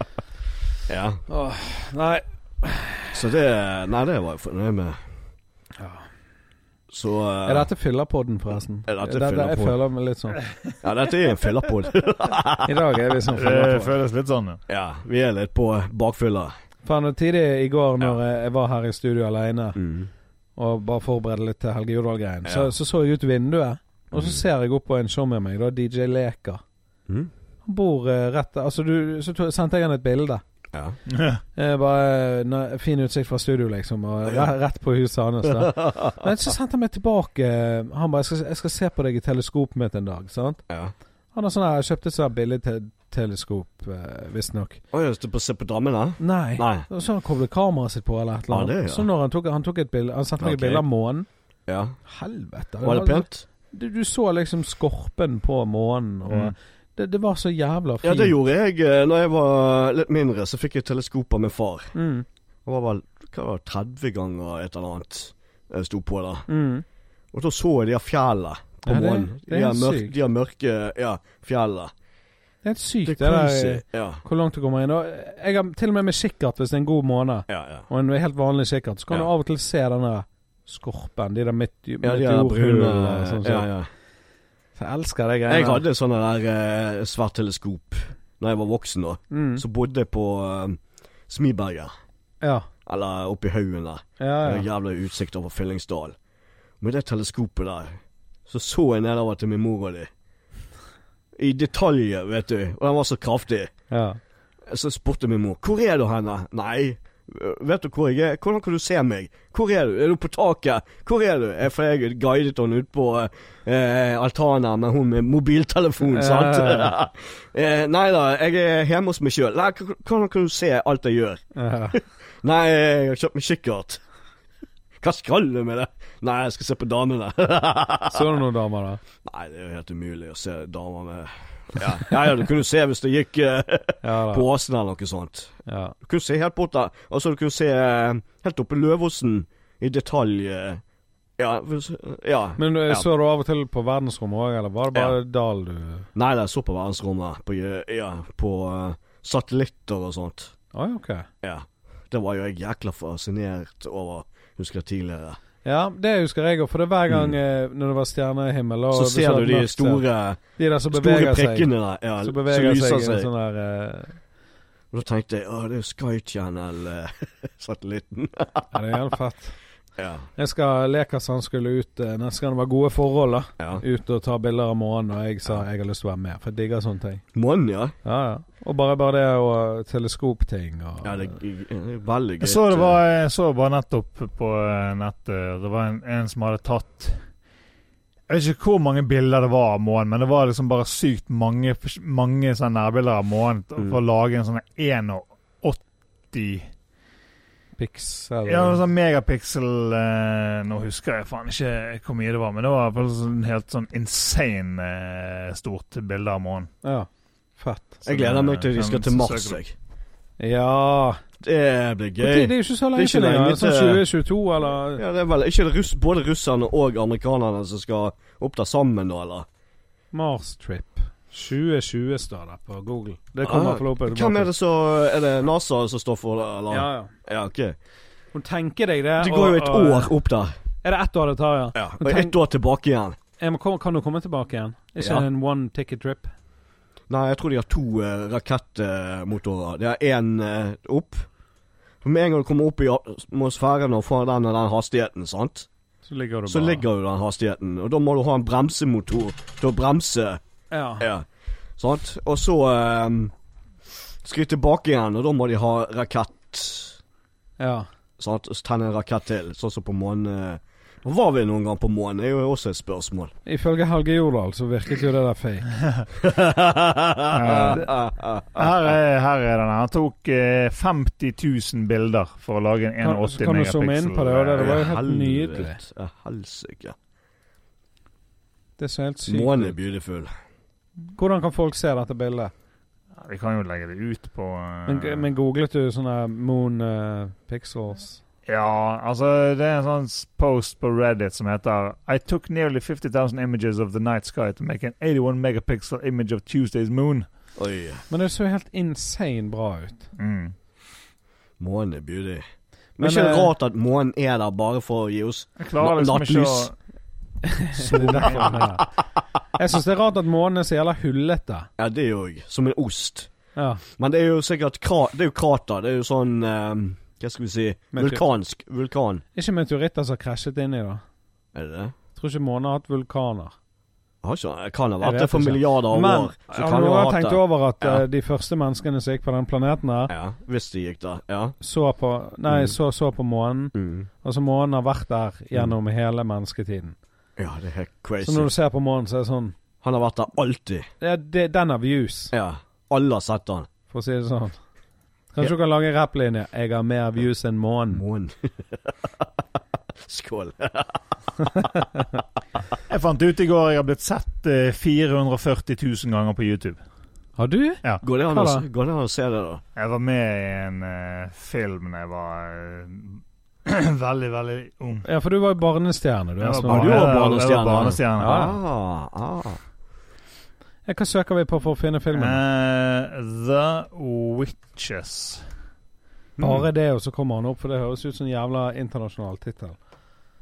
Speaker 2: [LAUGHS] ja.
Speaker 1: Åh, nei.
Speaker 2: Så det Nei, det var jeg fornøyd med.
Speaker 1: Ja.
Speaker 2: Så eh,
Speaker 1: Er dette fyllerpodden, forresten?
Speaker 2: Er dette
Speaker 1: Jeg
Speaker 2: fyllerpodden?
Speaker 1: føler meg litt sånn
Speaker 2: eh, Ja, dette er en [LAUGHS] fyllerpod.
Speaker 1: I dag er vi sånn
Speaker 3: [LAUGHS] Det
Speaker 1: fyllerpodden.
Speaker 3: føles litt sånn, ja.
Speaker 2: ja, vi er litt på bakfylla.
Speaker 1: Faen, og tidlig i går når jeg var her i studio alene
Speaker 2: Mm.
Speaker 1: og bare forberedte litt til Helge Jordal-greien, så,
Speaker 2: Ja.
Speaker 1: så så jeg ut vinduet, og så ser jeg opp på en show med meg, da DJ Leka.
Speaker 2: Mm.
Speaker 1: Han bor eh, rett der. Altså, du Så to- sendte jeg han et bilde.
Speaker 2: Ja. [LAUGHS]
Speaker 1: Eh, bare na, Fin utsikt fra studio, liksom. Og
Speaker 2: Ja.
Speaker 1: re- [LAUGHS] rett på huset hans.
Speaker 2: [LAUGHS]
Speaker 1: da. Men så sendte han meg tilbake. eh, Han bare jeg skal, 'Jeg skal se på deg i teleskopet mitt en dag'. sant?
Speaker 2: [LAUGHS] ja.
Speaker 1: Han har sånn her, kjøpte et sånt billig te teleskop, eh, visstnok.
Speaker 2: Oi, du på se på dammen, da?
Speaker 1: Nei.
Speaker 2: Nei.
Speaker 1: Og Så han koblet kameraet sitt på, eller et eller
Speaker 2: Ja,
Speaker 1: annet.
Speaker 2: det, ja.
Speaker 1: Så når han tok, han tok et bilde Han sendte meg
Speaker 2: Ok.
Speaker 1: et bilde av månen.
Speaker 2: Ja.
Speaker 1: Helvete.
Speaker 2: Var det pent?
Speaker 1: Du, du så liksom skorpen på månen, og
Speaker 3: Mm.
Speaker 1: det, det var så jævla fint.
Speaker 2: Ja, det gjorde jeg. eh, Når jeg var litt mindre, så fikk jeg teleskop av min far.
Speaker 1: Mm.
Speaker 2: Det var vel hva var det, 30 ganger et eller annet jeg sto på da.
Speaker 1: Mm.
Speaker 2: Og da så jeg de her fjellene på
Speaker 1: Ja, det-
Speaker 2: månen.
Speaker 1: det er
Speaker 2: De her
Speaker 1: helt
Speaker 2: mørke,
Speaker 1: sykt.
Speaker 2: de her mørke ja, fjellene.
Speaker 1: Det er helt sykt,
Speaker 2: Det
Speaker 1: det,
Speaker 2: er
Speaker 1: der. eh,
Speaker 2: crazy. Ja,
Speaker 1: Hvor langt du kommer inn. Og eh, jeg har til og med med kikkert, hvis det er en god måned,
Speaker 2: ja, ja.
Speaker 1: og en helt vanlig kikkert, så kan
Speaker 2: Ja.
Speaker 1: du av og til se denne skorpen. De der midt,
Speaker 2: Ja, de her brune
Speaker 1: meteorhulene og sånn.
Speaker 2: ja,
Speaker 1: sånn.
Speaker 2: ja.
Speaker 1: Så jeg elsker det greiene.
Speaker 2: Jeg hadde sånne der eh, svært teleskop Når jeg var voksen. da
Speaker 1: mm.
Speaker 2: Så bodde jeg på eh, Smiberget.
Speaker 1: Ja.
Speaker 2: Eller oppi haugen der.
Speaker 1: Ja,
Speaker 2: Med
Speaker 1: ja.
Speaker 2: jævla utsikt over Fyllingsdalen. Med det teleskopet der, så så jeg nedover til min mor og de. I detaljer, vet du. Og den var så kraftig.
Speaker 1: ja.
Speaker 2: Så spurte min mor 'Hvor er du henne?' 'Nei, øh, vet du hvor jeg er? Hvordan kan du se meg? Hvor er du? Er du på taket? Hvor er du?' Eh, For jeg guidet henne ut på eh, altanen med hun med mobiltelefon,
Speaker 1: Ja,
Speaker 2: sant?
Speaker 1: ja, ja.
Speaker 2: [LAUGHS] eh, 'Nei da, jeg er hjemme hos meg sjøl.' 'Nei, k- hvordan kan du se alt jeg gjør?'
Speaker 1: ja.
Speaker 2: 'Nei, jeg har kjøpt meg kikkert.' [LAUGHS] 'Hva skal du med det?' 'Nei, jeg skal se på damene.' [LAUGHS]
Speaker 1: Så du noen damer, da?
Speaker 2: Nei, det er jo helt umulig å se damer med Ja, ja, ja du kunne se hvis det gikk eh,
Speaker 1: Ja da.
Speaker 2: på åsen eller noe sånt.
Speaker 1: Ja.
Speaker 2: Du kunne se helt bort der. Altså, du kunne se eh, helt oppe i Løvåsen i detalj. eh, Ja, hvis- ja.
Speaker 1: Men eh,
Speaker 2: Ja.
Speaker 1: så du av og til på verdensrommet òg, eller var det bare dal du
Speaker 2: Nei, det er så på verdensrommet. På, eh, ja, på eh, satellitter og sånt.
Speaker 1: Oi, ok.
Speaker 2: Ja. Det var jo jeg jækla fascinert over, husker jeg tidligere.
Speaker 1: Ja, det husker jeg òg, for det er hver gang eh, når det var stjernehimmel og
Speaker 2: Mm. Så
Speaker 1: hvis det
Speaker 2: ser
Speaker 1: var
Speaker 2: du de
Speaker 1: mørkt, så-
Speaker 2: store,
Speaker 1: De der som
Speaker 2: store
Speaker 1: beveger seg.
Speaker 2: prikkene der. Ja,
Speaker 1: Som beveger
Speaker 2: lyser
Speaker 1: seg i en sånn der eh,
Speaker 2: Og da tenkte jeg å, det er jo Sky eh, [LAUGHS] Channel-satellitten.
Speaker 1: Ja, det er jævlig fett.
Speaker 2: ja.
Speaker 1: Jeg skal Lekas han skulle ut eh, neste gang det var gode forhold, da.
Speaker 2: ja.
Speaker 1: Ut og ta bilder av månen, og jeg sa jeg har lyst til å være med, for jeg digger sånne ting.
Speaker 2: Månen, ja.
Speaker 1: Ja, ja. Og bare, bare det og teleskopting og
Speaker 2: Ja, det er g- g- veldig gøy.
Speaker 3: Jeg så det var,
Speaker 2: eh,
Speaker 3: jeg så bare nettopp på eh, nettet Det var en, en som hadde tatt Jeg vet ikke hvor mange bilder det var av månen, men det var liksom bare sykt mange, fors- mange sånne nærbilder av månen t-
Speaker 2: Mm.
Speaker 3: for å lage en sånn 81
Speaker 1: pixel
Speaker 3: Ja,
Speaker 2: altså-
Speaker 3: en sånn megapixel eh, Nå husker jeg faen ikke hvor mye det var, men det var i hvert fall sånn helt sånn insane eh, stort bilde av månen.
Speaker 1: Ja. Fett.
Speaker 2: Jeg gleder meg til de
Speaker 3: sånn
Speaker 2: skal til Mars. Jeg.
Speaker 1: Ja
Speaker 2: Det blir
Speaker 1: Men Det, det
Speaker 2: gøy.
Speaker 1: er jo ikke så
Speaker 2: Det er
Speaker 1: lenge
Speaker 2: ikke
Speaker 1: til.
Speaker 2: lenge
Speaker 1: lenger. Sånn
Speaker 2: til-
Speaker 1: 2022, eller
Speaker 2: Ja, det er vel ikke det russ, både russerne og amerikanerne som skal opp der sammen, da, eller?
Speaker 1: Mars Trip. 2020 står det på Google. Det kommer
Speaker 2: Ah,
Speaker 1: iallfall opp.
Speaker 2: Hvem er det så Er det NASA som står for det, eller?
Speaker 1: Ja, ja.
Speaker 2: ja ok.
Speaker 1: Hun tenker deg det.
Speaker 2: Det går jo et
Speaker 1: og- og-
Speaker 2: år opp der.
Speaker 1: Er det ett år det tar, ja?
Speaker 2: Ja, og ett år tilbake igjen.
Speaker 1: Jeg må, komme- kan du komme tilbake igjen? Ikke
Speaker 2: Ja.
Speaker 1: en one ticket trip?
Speaker 2: Nei, jeg tror de har to eh, rakettmotorer. Det er én eh, opp. For Med en gang du kommer opp i atmosfæren og får den og den hastigheten, sant,
Speaker 1: Så ligger du bare
Speaker 2: så ligger jo den hastigheten. Og da må du ha en bremsemotor til å bremse
Speaker 1: Ja.
Speaker 2: Ja. Sant? Og så um, skal de tilbake igjen, og da må de ha rakett.
Speaker 1: ja.
Speaker 2: Sant? Og så tenne en rakett til, sånn som på månen. Var vi noen gang på månen? er jo også et spørsmål. [LAUGHS]
Speaker 1: Ifølge Helge Jordal så virket jo det der fake.
Speaker 3: Her er, her er den. Han tok eh, 50 000 bilder for å lage en
Speaker 1: Kan-
Speaker 3: 81
Speaker 1: kan du
Speaker 3: megapixel.
Speaker 1: zoome inn på det, og det- var jo helt
Speaker 2: Helvete.
Speaker 1: nydelig.
Speaker 2: Ja, Helsike.
Speaker 1: Det ser helt sykt
Speaker 2: Månen er
Speaker 1: ut.
Speaker 2: beautiful.
Speaker 1: Hvordan kan folk se dette bildet?
Speaker 3: Ja, Vi kan jo legge det ut på eh,
Speaker 2: Ah.
Speaker 1: Men, men googlet du sånne Moon eh, Pixels?
Speaker 3: Ja, altså Det er en sånn post på Reddit som heter I took nearly 50,000 images of the night sky to make an 81 megapixel image of Tuesday's moon.
Speaker 2: Oi.
Speaker 1: Men det så helt insane bra ut.
Speaker 3: Mm.
Speaker 2: Månen er beauty. Men,
Speaker 1: Men,
Speaker 2: ikke det
Speaker 1: eh,
Speaker 2: rart at månen er der bare for å gi oss
Speaker 3: Jeg klarer liksom ikke å
Speaker 2: Nattlys.
Speaker 1: Det er derfor den er her. Jeg syns det er rart at månen er så jævla hullete.
Speaker 2: Ja, det òg. Som en ost.
Speaker 1: Ja.
Speaker 2: Men det er jo sikkert kra Det er jo krater. Det er jo sånn eh, Hva skal vi si
Speaker 1: Men-
Speaker 2: Vulkansk. Vulkan.
Speaker 1: Ikke meteoritter som har krasjet inni, da.
Speaker 2: Er det det?
Speaker 1: Tror ikke månen har hatt vulkaner.
Speaker 2: Har ikke, kan ha
Speaker 1: Jeg
Speaker 2: vært
Speaker 1: vet
Speaker 2: det for
Speaker 1: ikke.
Speaker 2: milliarder av
Speaker 1: Men
Speaker 2: år. Så
Speaker 1: har
Speaker 2: kan
Speaker 1: du
Speaker 2: jo ha
Speaker 1: også
Speaker 2: hatt
Speaker 1: tenkt
Speaker 2: det.
Speaker 1: over at
Speaker 2: Ja.
Speaker 1: eh, de første menneskene som gikk på den planeten her,
Speaker 2: Ja, hvis de gikk der. Ja.
Speaker 1: så på Nei,
Speaker 2: Mm.
Speaker 1: så, så på månen.
Speaker 2: Mm.
Speaker 1: Altså månen har vært der gjennom hele mennesketiden.
Speaker 2: ja, det er helt
Speaker 1: Så
Speaker 2: crazy.
Speaker 1: når du ser på månen, så er det sånn
Speaker 2: Han har vært der alltid.
Speaker 1: ja, det, Den har views,
Speaker 2: Ja. Alle har sett han.
Speaker 1: for å si det sånn. Kanskje du kan lage en rapplinje 'Jeg har mer views enn månen'.
Speaker 2: Månen. [LAUGHS] Skål.
Speaker 3: Jeg fant ut i går jeg har blitt sett eh, 440 000 ganger på YouTube.
Speaker 1: Har du?
Speaker 3: Ja.
Speaker 2: Går det an
Speaker 1: Hva
Speaker 2: å,
Speaker 1: da?
Speaker 2: går det an å se det, da?
Speaker 3: Jeg var med i en eh, film da jeg var eh, [CLEARS THROAT] veldig, veldig ung.
Speaker 1: Ja, for du var jo barnestjerne, du.
Speaker 3: Jeg
Speaker 1: Espen.
Speaker 2: var barne-
Speaker 1: Ja.
Speaker 2: var
Speaker 3: jeg var
Speaker 2: barnestjerne.
Speaker 3: barnestjerne.
Speaker 1: Ja.
Speaker 2: Ah, ah.
Speaker 1: Ja, Hva søker vi på for å finne filmen?
Speaker 3: Eh, The Witches.
Speaker 1: Mm. Bare det, og så kommer han opp, for det høres ut som en jævla internasjonal tittel.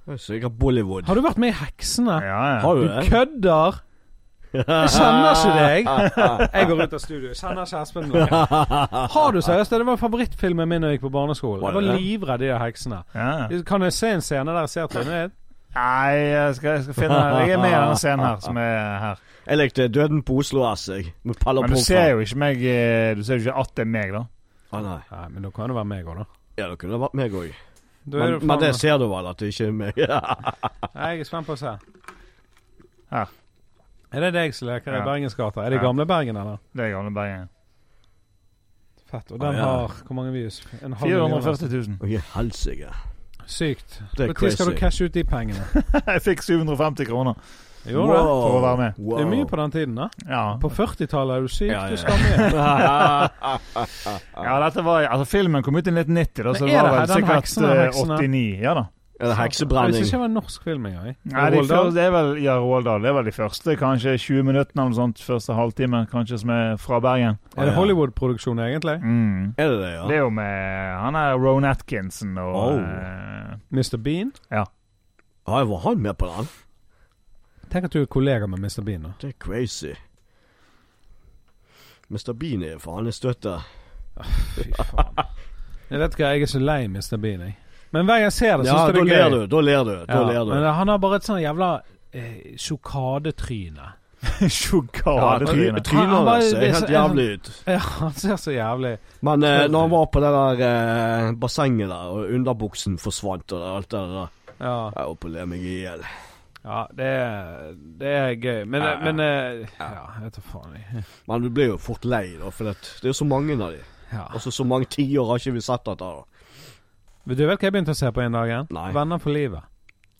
Speaker 2: Det er Sikkert Bollywood.
Speaker 1: Har du vært med i Heksene?
Speaker 3: Ja, ja.
Speaker 2: Har du
Speaker 1: Du
Speaker 2: det?
Speaker 1: kødder! Jeg kjenner ikke deg!
Speaker 2: [LAUGHS]
Speaker 1: Jeg går ut av studio. Jeg kjenner ikke Espen nå. Har du seriøst? Det var favorittfilmen min da jeg gikk på barneskolen.
Speaker 2: Var
Speaker 1: Jeg
Speaker 2: det
Speaker 1: var
Speaker 2: det?
Speaker 1: livredd de der heksene.
Speaker 3: ja.
Speaker 1: Kan jeg se en scene der jeg ser trynet ditt?
Speaker 3: Nei, jeg skal, jeg skal finne Jeg er med i denne scenen her, som er her.
Speaker 2: Jeg likte Døden på Oslo S, jeg. Med Pelle
Speaker 3: Men du
Speaker 2: Proffen.
Speaker 3: ser jo ikke meg eh, Du ser jo ikke at det er meg, da.
Speaker 2: Ah, nei.
Speaker 1: Nei, men da kan det være meg òg, da.
Speaker 2: Ja, det kunne vært meg òg.
Speaker 1: Da er
Speaker 2: Men,
Speaker 1: det faen
Speaker 2: men det
Speaker 1: meg-
Speaker 2: ser du vel, at det ikke er meg. [LAUGHS]
Speaker 1: Nei, Jeg er spent på å se.
Speaker 3: Her.
Speaker 1: Er det deg som leker i
Speaker 3: Ja.
Speaker 1: Bergensgata? Er det
Speaker 3: Ja.
Speaker 1: gamle Bergen, eller?
Speaker 3: Det er gamle Bergen.
Speaker 1: Fett. Og
Speaker 2: Å,
Speaker 1: den
Speaker 2: ja.
Speaker 1: har hvor mange views? En halv million?
Speaker 3: 440 000.
Speaker 2: Å, i helsike.
Speaker 1: Sykt.
Speaker 2: Det er
Speaker 1: Når skal du
Speaker 2: crazy.
Speaker 1: cashe ut de
Speaker 2: [LAUGHS]
Speaker 1: pengene?
Speaker 3: Jeg fikk 750 kroner.
Speaker 1: Jo da.
Speaker 3: for å være med.
Speaker 2: Wow.
Speaker 1: Det er mye på den tiden, da.
Speaker 3: Ja.
Speaker 1: På 40-tallet er du syk,
Speaker 2: Ja, ja, ja.
Speaker 1: du skammer.
Speaker 2: [LAUGHS]
Speaker 3: ja, dette var Altså, filmen kom ut i 1990, da, så
Speaker 1: Men
Speaker 3: det
Speaker 1: er det
Speaker 3: var
Speaker 1: her
Speaker 3: vel
Speaker 1: den
Speaker 3: sikkert
Speaker 1: heksen er
Speaker 3: eh,
Speaker 1: heksen, da?
Speaker 3: 89. Ja da.
Speaker 2: Er det
Speaker 1: Jeg synes
Speaker 2: heksebrenning?
Speaker 1: ikke det var en norsk film engang.
Speaker 3: Nei, de
Speaker 1: Roald Dahl?
Speaker 3: første, det er vel ja, Roald Dahl. Det er vel de første kanskje 20 minuttene eller noe sånt. Første halvtime, kanskje, som er fra Bergen.
Speaker 1: Er det Hollywood-produksjon, egentlig?
Speaker 3: Mm.
Speaker 2: Er det det, ja?
Speaker 3: Det er jo med han er Roan Atkinson og
Speaker 2: Oh.
Speaker 3: eh, [LAUGHS]
Speaker 1: Mr. Bean?
Speaker 2: Ah, var han med på den?
Speaker 1: Tenk at du er kollega med Mr. Bean. da
Speaker 2: Det er crazy. Mr. Bean er faen en støtte.
Speaker 1: Fy faen. Jeg vet ikke, jeg er så lei Mr. Bean, jeg. Men hver gang jeg ser det, syns
Speaker 2: Ja,
Speaker 1: jeg
Speaker 2: da
Speaker 1: det
Speaker 2: ler
Speaker 1: er
Speaker 2: du.
Speaker 1: gøy.
Speaker 2: Da ler du. Da
Speaker 1: Ja,
Speaker 2: ler du.
Speaker 1: men han har bare et sånn jævla eh, sjokadetryne.
Speaker 2: Ja, try-
Speaker 3: Sjokadetryne.
Speaker 1: Han- han
Speaker 2: Trynet
Speaker 1: bare-
Speaker 2: hans ser
Speaker 1: det er
Speaker 2: helt
Speaker 1: så-
Speaker 2: jævlig ut.
Speaker 1: Ja, han ser så jævlig
Speaker 2: Men eh, når han var på det der eh, bassenget der, og underbuksen forsvant og alt det der
Speaker 1: Ja,
Speaker 2: Jeg holdt på å le meg i hjel.
Speaker 1: ja det, er, det er gøy. Men,
Speaker 2: Ja, ja.
Speaker 1: men eh, Ja, jeg vet da faen. jeg.
Speaker 2: Men du blir jo fort lei, da, for det, det er jo så mange av de.
Speaker 1: Ja.
Speaker 2: Altså, så mange tiår har ikke vi sett dette. da.
Speaker 1: Vet Du vet hva jeg begynte å se på en dag? igjen?
Speaker 2: Nei.
Speaker 1: Venner for livet.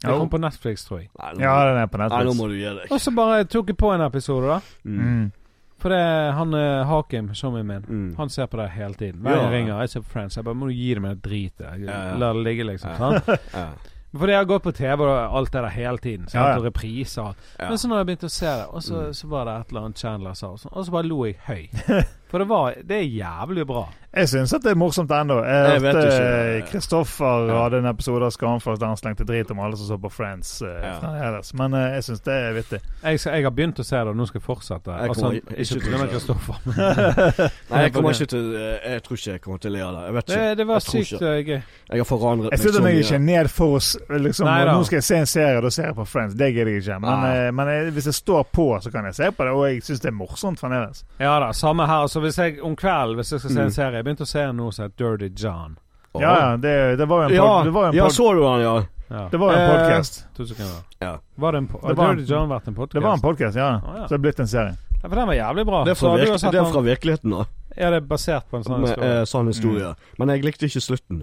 Speaker 1: Det
Speaker 3: Jo.
Speaker 1: kom på Netflix, tror jeg.
Speaker 2: Nei, nå,
Speaker 3: Ja, den er på
Speaker 2: nei, nå
Speaker 3: Netflix.
Speaker 2: må du gi deg.
Speaker 1: Og så bare tok jeg på en episode, da.
Speaker 2: Mm.
Speaker 3: Mm.
Speaker 1: For det er han eh, Hakim, showmien min,
Speaker 2: Mm.
Speaker 1: han ser på det hele tiden. Hver gang jeg
Speaker 2: Ja.
Speaker 1: ringer, jeg ser på Friends. Jeg bare må du gi det meg drit i.
Speaker 2: Ja, ja.
Speaker 1: La det ligge, liksom.
Speaker 2: Ja.
Speaker 1: Sant? [LAUGHS]
Speaker 2: Ja.
Speaker 1: Fordi jeg har gått på TV og alt det der hele tiden. Sant?
Speaker 3: Ja, ja.
Speaker 1: Og repriser og alt.
Speaker 2: Ja. Mm.
Speaker 1: Men så når jeg begynte å se det, og så, så var det et eller annet Chandler sa, og, sånn, og så bare lo jeg
Speaker 2: [LAUGHS]
Speaker 1: høy. For det var Det er jævlig bra.
Speaker 3: Jeg syns at det er morsomt ennå.
Speaker 2: Jeg
Speaker 3: Jeg
Speaker 2: vet
Speaker 3: hørte
Speaker 2: ikke.
Speaker 3: eh, Kristoffer
Speaker 2: Ja.
Speaker 3: hadde en episode av Skamfast der han slengte drit om alle som så på Friends. eh,
Speaker 2: Ja.
Speaker 3: fremdeles. Men eh, jeg syns det er vittig.
Speaker 1: Jeg, skal, jeg har begynt å se det, og nå skal jeg fortsette.
Speaker 2: Jeg
Speaker 1: altså,
Speaker 2: kommer ikke
Speaker 1: ikke
Speaker 2: til å
Speaker 1: på grunn av
Speaker 2: se det.
Speaker 1: Kristoffer. [LAUGHS]
Speaker 2: Nei, jeg kommer ikke til eh, Jeg tror ikke jeg kommer til å le av det. Jeg vet
Speaker 1: Det,
Speaker 2: ikke.
Speaker 1: det var
Speaker 2: Jeg tror
Speaker 1: sykt
Speaker 2: ikke.
Speaker 1: eh, gøy.
Speaker 2: Jeg har liksom, forandret
Speaker 3: Jeg føler meg
Speaker 2: mye.
Speaker 3: ikke ned for oss. Liksom,
Speaker 1: Nei
Speaker 3: og
Speaker 1: da.
Speaker 3: nå skal jeg se en serie, da ser jeg på Friends. Det gidder jeg ikke. Men,
Speaker 2: Nei.
Speaker 3: eh, men eh, hvis jeg står på, så kan jeg se på det, og jeg syns det er morsomt fremdeles.
Speaker 1: Ja da, samme her. Altså, hvis jeg, om kvelden, hvis jeg skal se
Speaker 2: Mm.
Speaker 1: en serie Jeg begynte å se en nå som heter Dirty John.
Speaker 2: Åh.
Speaker 3: Ja, ja, det, det var jo en, pod, det var jo en,
Speaker 2: ja,
Speaker 3: pod,
Speaker 2: så du han, ja.
Speaker 1: Ja.
Speaker 3: det var jo
Speaker 2: Eh,
Speaker 3: en podcast.
Speaker 1: To sekunder.
Speaker 2: Ja.
Speaker 1: Var det en po
Speaker 3: Det var
Speaker 1: har
Speaker 3: en-
Speaker 1: Dirty John vært en podkast?
Speaker 3: Det var en podcast, ja.
Speaker 1: Å, ja.
Speaker 3: Så det er blitt en serie.
Speaker 1: Ja, for den var jævlig bra.
Speaker 2: Det er fra,
Speaker 1: Så har du
Speaker 2: virke,
Speaker 1: sett
Speaker 2: det er
Speaker 1: den-
Speaker 2: fra virkeligheten, da.
Speaker 1: Ja, det er basert på en sånn
Speaker 2: Med
Speaker 1: historie. Mm.
Speaker 2: eh, sann historie. Men jeg likte ikke slutten.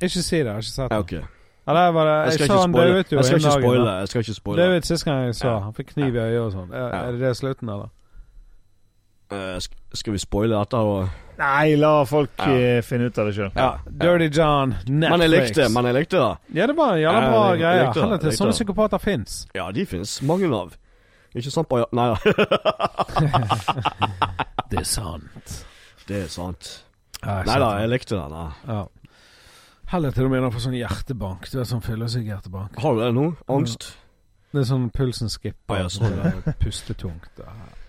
Speaker 1: Ikke si det, jeg har ikke sett
Speaker 2: Ja,
Speaker 1: den.
Speaker 2: ok. Jeg
Speaker 1: Ja, der var det, jeg,
Speaker 2: skal
Speaker 1: så
Speaker 2: ikke
Speaker 1: han
Speaker 2: spoile.
Speaker 1: døde jo
Speaker 2: Jeg skal
Speaker 1: en
Speaker 2: ikke
Speaker 1: dag,
Speaker 2: spoile.
Speaker 1: da.
Speaker 2: Jeg skal ikke spoile.
Speaker 1: Døde sist gang jeg så
Speaker 2: Ja.
Speaker 1: Han fikk kniv i øyet og sånn. Er,
Speaker 2: Ja.
Speaker 1: er det det slutten, eller?
Speaker 2: Eh, sk- Skal vi spoile dette? Og...
Speaker 3: Nei, la folk
Speaker 2: Ja.
Speaker 3: eh, finne ut av det sjøl.
Speaker 1: Ja. Dirty John, Netflix.
Speaker 2: Men jeg likte, men jeg likte det.
Speaker 1: Ja, det var en jævla
Speaker 2: Ja,
Speaker 1: bra
Speaker 2: jeg- jeg
Speaker 1: greie.
Speaker 2: likte det,
Speaker 1: Helvete,
Speaker 2: jeg likte
Speaker 1: sånne
Speaker 2: det.
Speaker 1: psykopater fins.
Speaker 2: Ja, de finnes mange av. Ikke sant, Baja? Nei da. [LAUGHS]
Speaker 1: Det er sant.
Speaker 2: Det er sant.
Speaker 1: Ja, jeg
Speaker 2: Nei da,
Speaker 1: sant.
Speaker 2: jeg likte den. da.
Speaker 1: Ja. Helvete, du begynner å få sånn hjertebank. Du er sånn fyllesyk hjertebank.
Speaker 2: Har du det nå? Angst?
Speaker 1: Det er sånn pulsen skipper.
Speaker 2: Ja, ja, sånn,
Speaker 1: det Pustetungt. da.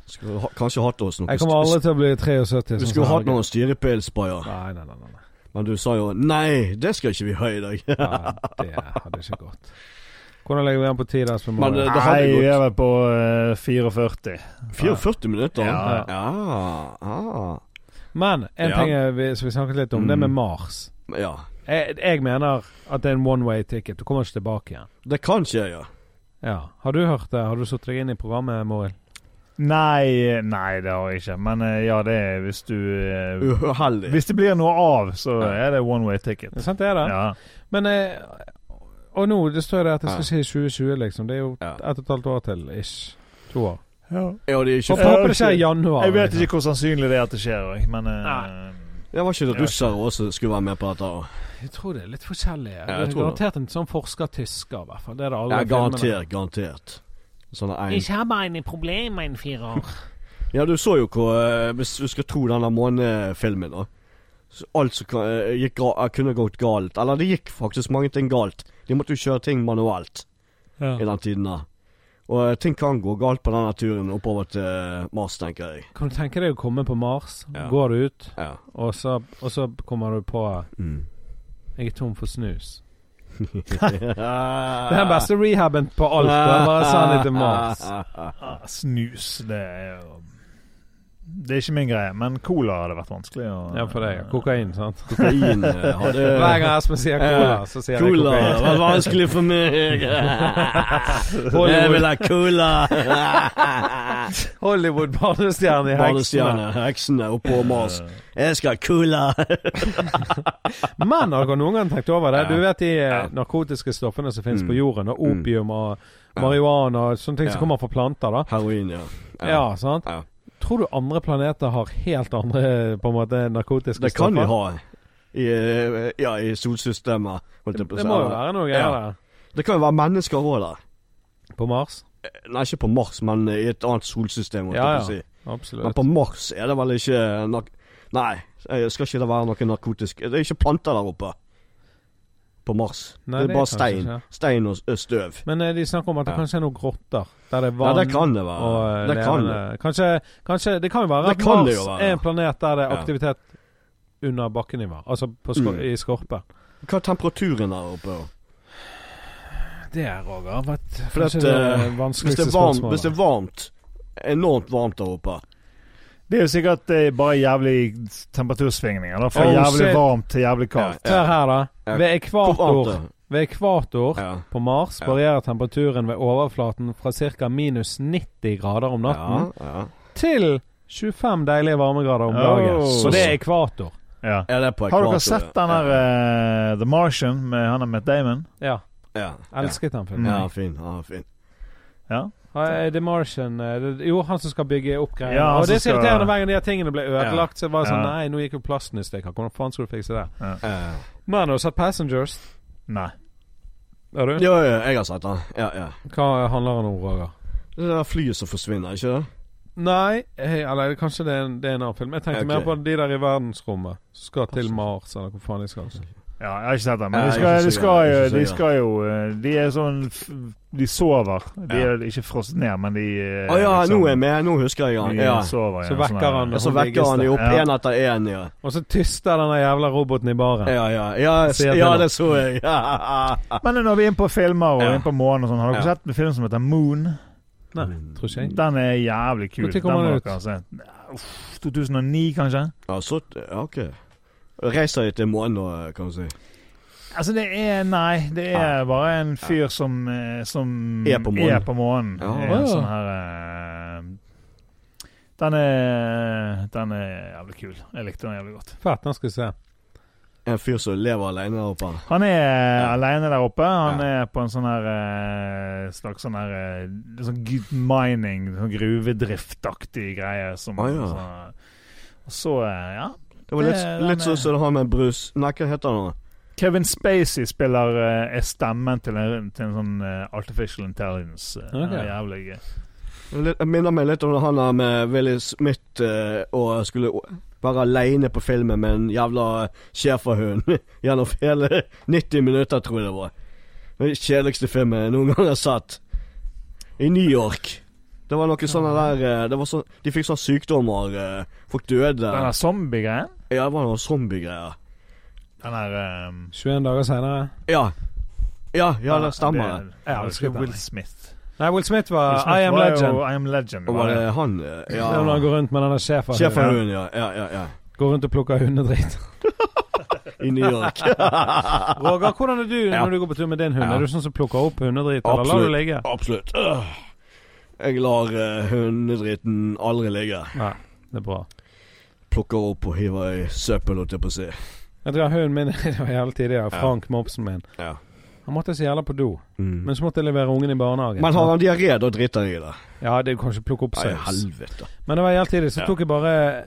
Speaker 2: Skulle ha, kanskje hatt oss noe
Speaker 1: Jeg kommer aldri til å bli 73.
Speaker 2: Du
Speaker 1: sånn
Speaker 2: skulle
Speaker 1: som
Speaker 2: hatt
Speaker 1: Helge.
Speaker 2: noen styrepils, Baja.
Speaker 1: Nei, nei, nei. nei, nei.
Speaker 2: Men du sa jo 'nei, det skal ikke vi ha i dag'. [LAUGHS]
Speaker 1: Ja, det hadde ikke gått. Hvordan legger vi an på tid? der som
Speaker 2: Men,
Speaker 1: mål?
Speaker 2: eh, det hadde
Speaker 3: Nei,
Speaker 2: gått.
Speaker 3: vi er vel på eh, 44.
Speaker 2: 44 minutter?
Speaker 3: Ja.
Speaker 2: Ja. Ah.
Speaker 1: Men en
Speaker 2: Ja. Mm.
Speaker 1: ting jeg vil- som vi snakket litt om, det med Mars.
Speaker 2: ja.
Speaker 1: Jeg, jeg mener at det er en one way ticket. Du kommer ikke tilbake igjen.
Speaker 2: Det kan skje, ja.
Speaker 1: Ja. Har du hørt det? Har du satt deg inn i programmet, Morild?
Speaker 3: Nei, nei, det har jeg ikke. Men eh, ja, det er hvis du eh,
Speaker 2: Uheldig.
Speaker 3: Hvis det blir noe av, så er det one way ticket.
Speaker 1: Det er sant det er det.
Speaker 3: Ja.
Speaker 1: Men eh, Og nå det står det at jeg skal si 2020, liksom. Det er jo
Speaker 2: Ja.
Speaker 1: ett og et halvt år til. Ish. To år.
Speaker 2: Ja, det er
Speaker 1: Får
Speaker 2: ikke
Speaker 1: håpe det skjer i januar.
Speaker 3: Jeg vet
Speaker 1: liksom.
Speaker 3: ikke hvor sannsynlig det er at det skjer òg, men eh,
Speaker 1: Nei.
Speaker 2: Det var ikke det russere også som skulle være med på dette. og-
Speaker 1: Jeg tror det er litt forskjellig.
Speaker 2: jeg
Speaker 1: det er
Speaker 2: tror det.
Speaker 1: garantert en sånn forsker-tysker, i hvert fall. Det er det alle
Speaker 2: Ja,
Speaker 1: filmene.
Speaker 2: garantert. Garantert. Sånn en.
Speaker 4: Ich habe ein Problem, mein Vierer.
Speaker 2: Ja, du så jo hvor eh, Hvis du skal tro denne månefilmen, da. Så alt som kan- eh, gikk, ga- eh, kunne gått galt. Eller det gikk faktisk mange ting galt. De måtte jo kjøre ting manuelt i den tiden da. Og eh, ting kan gå galt på denne turen oppover til eh, Mars, tenker jeg.
Speaker 1: [LAUGHS] Kan du tenke deg å komme på Mars?
Speaker 2: Ja.
Speaker 1: Går du ut,
Speaker 2: Ja.
Speaker 1: og så, og så kommer du på
Speaker 2: [LAUGHS] Mm.
Speaker 1: Jeg er tom for snus. Det
Speaker 2: det
Speaker 1: er den beste rehaben på alt. Det er bare send det til Mars.
Speaker 3: ah, snus, det er jo Det er ikke min greie, men cola hadde vært vanskelig. Å,
Speaker 1: Ja, for deg. Kokain, sant.
Speaker 2: Kokain eh, hadde
Speaker 1: Hver gang Espen sier cola,
Speaker 2: Ja.
Speaker 1: så sier jeg
Speaker 2: Cola
Speaker 1: kokain.
Speaker 2: var vanskelig for meg. Jeg vil
Speaker 1: Hollywood,
Speaker 2: ha [LAUGHS] cola.
Speaker 1: Hollywood barnestjerne i heksene.
Speaker 2: Barnestjerne, heksene oppå Mars. Jeg skal ha cola.
Speaker 1: Men har dere noen gang tenkt over det?
Speaker 2: Ja.
Speaker 1: Du vet de eh,
Speaker 2: Ja.
Speaker 1: narkotiske stoffene som finnes
Speaker 2: Mm.
Speaker 1: på jorden, og
Speaker 2: Mm.
Speaker 1: opium og marihuana og sånne ting
Speaker 2: Ja.
Speaker 1: som kommer fra planter, da.
Speaker 2: Heroin, ja.
Speaker 1: Ja, sant?
Speaker 2: Ja.
Speaker 1: Tror du andre planeter har helt andre på en måte narkotiske
Speaker 2: Det
Speaker 1: stoffer?
Speaker 2: kan vi ha i, eh, ja, i solsystemet. holdt jeg på å
Speaker 1: Det
Speaker 2: si.
Speaker 1: må jo være noe greier
Speaker 2: Ja. Det kan jo være mennesker òg der.
Speaker 1: der. På Mars?
Speaker 2: Nei, ikke på Mars, men i et annet solsystem. holdt jeg
Speaker 1: Ja,
Speaker 2: på å si. Men
Speaker 1: Absolutt.
Speaker 2: på Mars er det vel ikke nark Nei, eh, skal ikke det være noe narkotisk Det er ikke planter der oppe. På Mars.
Speaker 1: Nei,
Speaker 2: det
Speaker 1: det er
Speaker 2: er bare
Speaker 1: kanskje
Speaker 2: stein.
Speaker 1: ikke.
Speaker 2: Stein og s- ø, støv.
Speaker 1: Men eh, de snakker om at det
Speaker 2: Ja.
Speaker 1: kanskje er noen grotter der det er
Speaker 2: Ja,
Speaker 1: vann.
Speaker 2: det kan det være.
Speaker 1: Og eh,
Speaker 2: det kan
Speaker 1: levende.
Speaker 2: det.
Speaker 1: Kanskje, kanskje Det kan jo være
Speaker 2: Det
Speaker 1: at
Speaker 2: kan
Speaker 1: Mars
Speaker 2: det jo være.
Speaker 1: er en planet der det er
Speaker 2: Ja.
Speaker 1: aktivitet under bakkenivå. Altså på skor
Speaker 2: Mm.
Speaker 1: i skorpen.
Speaker 2: Hva er temperaturen der oppe? da?
Speaker 1: Det er Roger. Vet,
Speaker 2: For at, eh, Hvis det,
Speaker 1: vanskeligste
Speaker 2: er varmt,
Speaker 1: spørsmålet.
Speaker 2: hvis det er varmt Enormt varmt der oppe.
Speaker 3: Det er jo sikkert eh, bare jævlig temperatursvingninger. Da, fra
Speaker 1: Oh,
Speaker 3: jævlig
Speaker 1: shit.
Speaker 3: varmt til jævlig kaldt.
Speaker 1: Hør her, da.
Speaker 2: Ja.
Speaker 1: Ved
Speaker 2: Hvor varmt
Speaker 1: ekvator,
Speaker 2: det er.
Speaker 1: ved ekvator
Speaker 2: Ja.
Speaker 1: på Mars
Speaker 2: Ja.
Speaker 1: varierer temperaturen ved overflaten fra ca. minus 90 grader om natten
Speaker 2: Ja, ja.
Speaker 1: til 25 deilige varmegrader om
Speaker 3: Oh.
Speaker 1: dagen. Så det er ekvator.
Speaker 3: Ja.
Speaker 2: Er det på
Speaker 3: Har
Speaker 2: ekvator,
Speaker 3: dere sett
Speaker 2: ja?
Speaker 3: den der eh, The Martian med han og Matt Damon?
Speaker 1: Ja.
Speaker 2: Ja. ja.
Speaker 1: Elsket den filmen.
Speaker 2: Ja, fin. Ja, fin.
Speaker 3: Ja.
Speaker 1: Ja, eh, The Martian eh, det- Jo, han som skal bygge opp greiene.
Speaker 3: Ja, han
Speaker 1: og det er så
Speaker 3: som skal-
Speaker 1: irriterende hver gang de her tingene ble ødelagt. Så var det sånn
Speaker 3: Ja.
Speaker 1: Nei, nå gikk jo plasten i stykker. Hvordan faen skal du fikse det?
Speaker 2: Eh,
Speaker 1: Men har du sett Passengers?
Speaker 3: Nei.
Speaker 1: Har du?
Speaker 2: ja, ja, jeg har sett den. Ja, ja.
Speaker 1: Hva handler den om, Roger?
Speaker 2: Det der flyet som forsvinner, ikke det?
Speaker 1: Nei, eh, eller kanskje det er en, det er en annen film. Jeg tenkte
Speaker 2: Ok.
Speaker 1: mer på de der i verdensrommet som skal til Mars, eller hvor faen de skal.
Speaker 3: Ja, jeg har ikke sett den,
Speaker 2: Nei,
Speaker 3: men de
Speaker 2: jeg er
Speaker 3: skal,
Speaker 2: ikke
Speaker 3: de skal
Speaker 2: sikker,
Speaker 3: jo
Speaker 2: jeg er ikke
Speaker 3: De
Speaker 2: sikker.
Speaker 3: skal jo eh, De er sånn f- De sover. De
Speaker 2: Ja.
Speaker 3: er ikke frosset ned, men de eh,
Speaker 2: Å ja,
Speaker 3: liksom-
Speaker 2: nå er jeg med. Nå husker jeg han.
Speaker 3: de
Speaker 2: Ja.
Speaker 3: sover.
Speaker 1: Så
Speaker 3: ja,
Speaker 1: vekker
Speaker 3: sånn,
Speaker 1: han.
Speaker 2: Og så vekker han de opp
Speaker 3: Ja.
Speaker 2: én etter én. Ja.
Speaker 1: Og så tyster den der jævla roboten i baren.
Speaker 2: Ja, ja, ja,
Speaker 1: Ser jeg
Speaker 2: ja,
Speaker 1: det nå?
Speaker 2: det så jeg. Ja.
Speaker 3: ja. Men når vi er inne på filmer og
Speaker 2: Ja.
Speaker 3: inne på månen og sånn, har dere
Speaker 2: Ja.
Speaker 3: sett en film som heter Moon?
Speaker 1: Nei, tror ikke jeg.
Speaker 3: Den er jævlig kul.
Speaker 1: Når kom
Speaker 3: Den
Speaker 1: den
Speaker 3: må
Speaker 1: ut?
Speaker 3: dere se. Ja, Uff, 2009, kanskje?
Speaker 2: Ja, så, ja, ok. Reiser jeg til månen nå, kan du si.
Speaker 3: Altså, det er Nei, det er bare en fyr som, eh, som
Speaker 2: Er på månen.
Speaker 3: Er på månen.
Speaker 2: Ja.
Speaker 3: Det er
Speaker 1: Ja.
Speaker 3: En sånn her eh, den er, den er jævlig kul. Jeg likte den jævlig godt.
Speaker 1: Fett, den skal vi se.
Speaker 2: En fyr som lever alene der oppe.
Speaker 3: Han er
Speaker 2: Ja.
Speaker 3: alene der oppe. Han
Speaker 2: Ja.
Speaker 3: er på en sånn her eh, slags sånn her eh, litt sånn gu- mining, sånn gruvedriftaktig greie. Som,
Speaker 2: Å, ja.
Speaker 3: sånn, og så, eh, ja
Speaker 2: Det var litt,
Speaker 3: Det- den
Speaker 2: litt
Speaker 3: er-
Speaker 2: sånn som det har med brus Nei, hva heter han? nå?
Speaker 3: Kevin Spacey spiller eh, er stemmen til en, til en sånn eh, artificial intelligence. eh,
Speaker 1: Ok.
Speaker 3: det er jævlig gøy.
Speaker 2: Litt- Jeg minner meg litt om han der med Willy Smith eh, og skulle o- være aleine på filmen med en jævla schæferhund [LAUGHS] gjennom hele 90 minutter, tror jeg det var. Den kjedeligste filmen jeg noen gang har sett. I New York. Det var noe sånne der eh, det var sånn, De fikk sånne sykdommer. eh, Folk døde.
Speaker 3: Den der zombie-greien
Speaker 2: Ja, det var noen zombiegreier.
Speaker 3: Den der eh,
Speaker 1: 21 dager senere.
Speaker 2: Ja. Ja, ja, det stemmer. det.
Speaker 3: Jeg elsker Will Smith.
Speaker 1: Nei, Will Smith var
Speaker 3: Will Smith
Speaker 1: Uh, I Am
Speaker 3: var jo-
Speaker 1: Legend.
Speaker 3: I am legend
Speaker 2: Og
Speaker 3: var
Speaker 2: var
Speaker 3: det.
Speaker 2: det han eh,
Speaker 1: Det er Når han
Speaker 2: Ja.
Speaker 1: går rundt med denne sjefen.
Speaker 2: Schæferhunden, ja. Ja, ja, ja.
Speaker 1: Går rundt og plukker
Speaker 2: [LAUGHS]
Speaker 1: hundedritt.
Speaker 2: I New York.
Speaker 1: Roger, hvordan er du
Speaker 2: Ja.
Speaker 1: når du går på tur med din hund?
Speaker 2: Ja.
Speaker 1: Er du sånn som plukker opp hundedritt, eller lar du
Speaker 2: Absolutt.
Speaker 1: ligge?
Speaker 2: Absolutt. Øh. Jeg lar eh, hundedritten aldri ligge.
Speaker 1: Nei, det er bra.
Speaker 2: Plukker opp og hiver i søppel, holdt jeg på å si.
Speaker 1: Jeg tror hunden min [LAUGHS] det var hele tiden ja. Frank, mopsen min.
Speaker 2: Ja.
Speaker 1: Han måtte så jævla på do,
Speaker 2: Mm.
Speaker 1: men så måtte jeg levere ungen i barnehagen.
Speaker 2: Men har han diaré, da driter han i det.
Speaker 1: Ja, det kan ikke plukke opp
Speaker 2: Nei,
Speaker 1: saus.
Speaker 2: helvete.
Speaker 1: Men det var helt tidlig, så
Speaker 2: Ja.
Speaker 1: tok jeg bare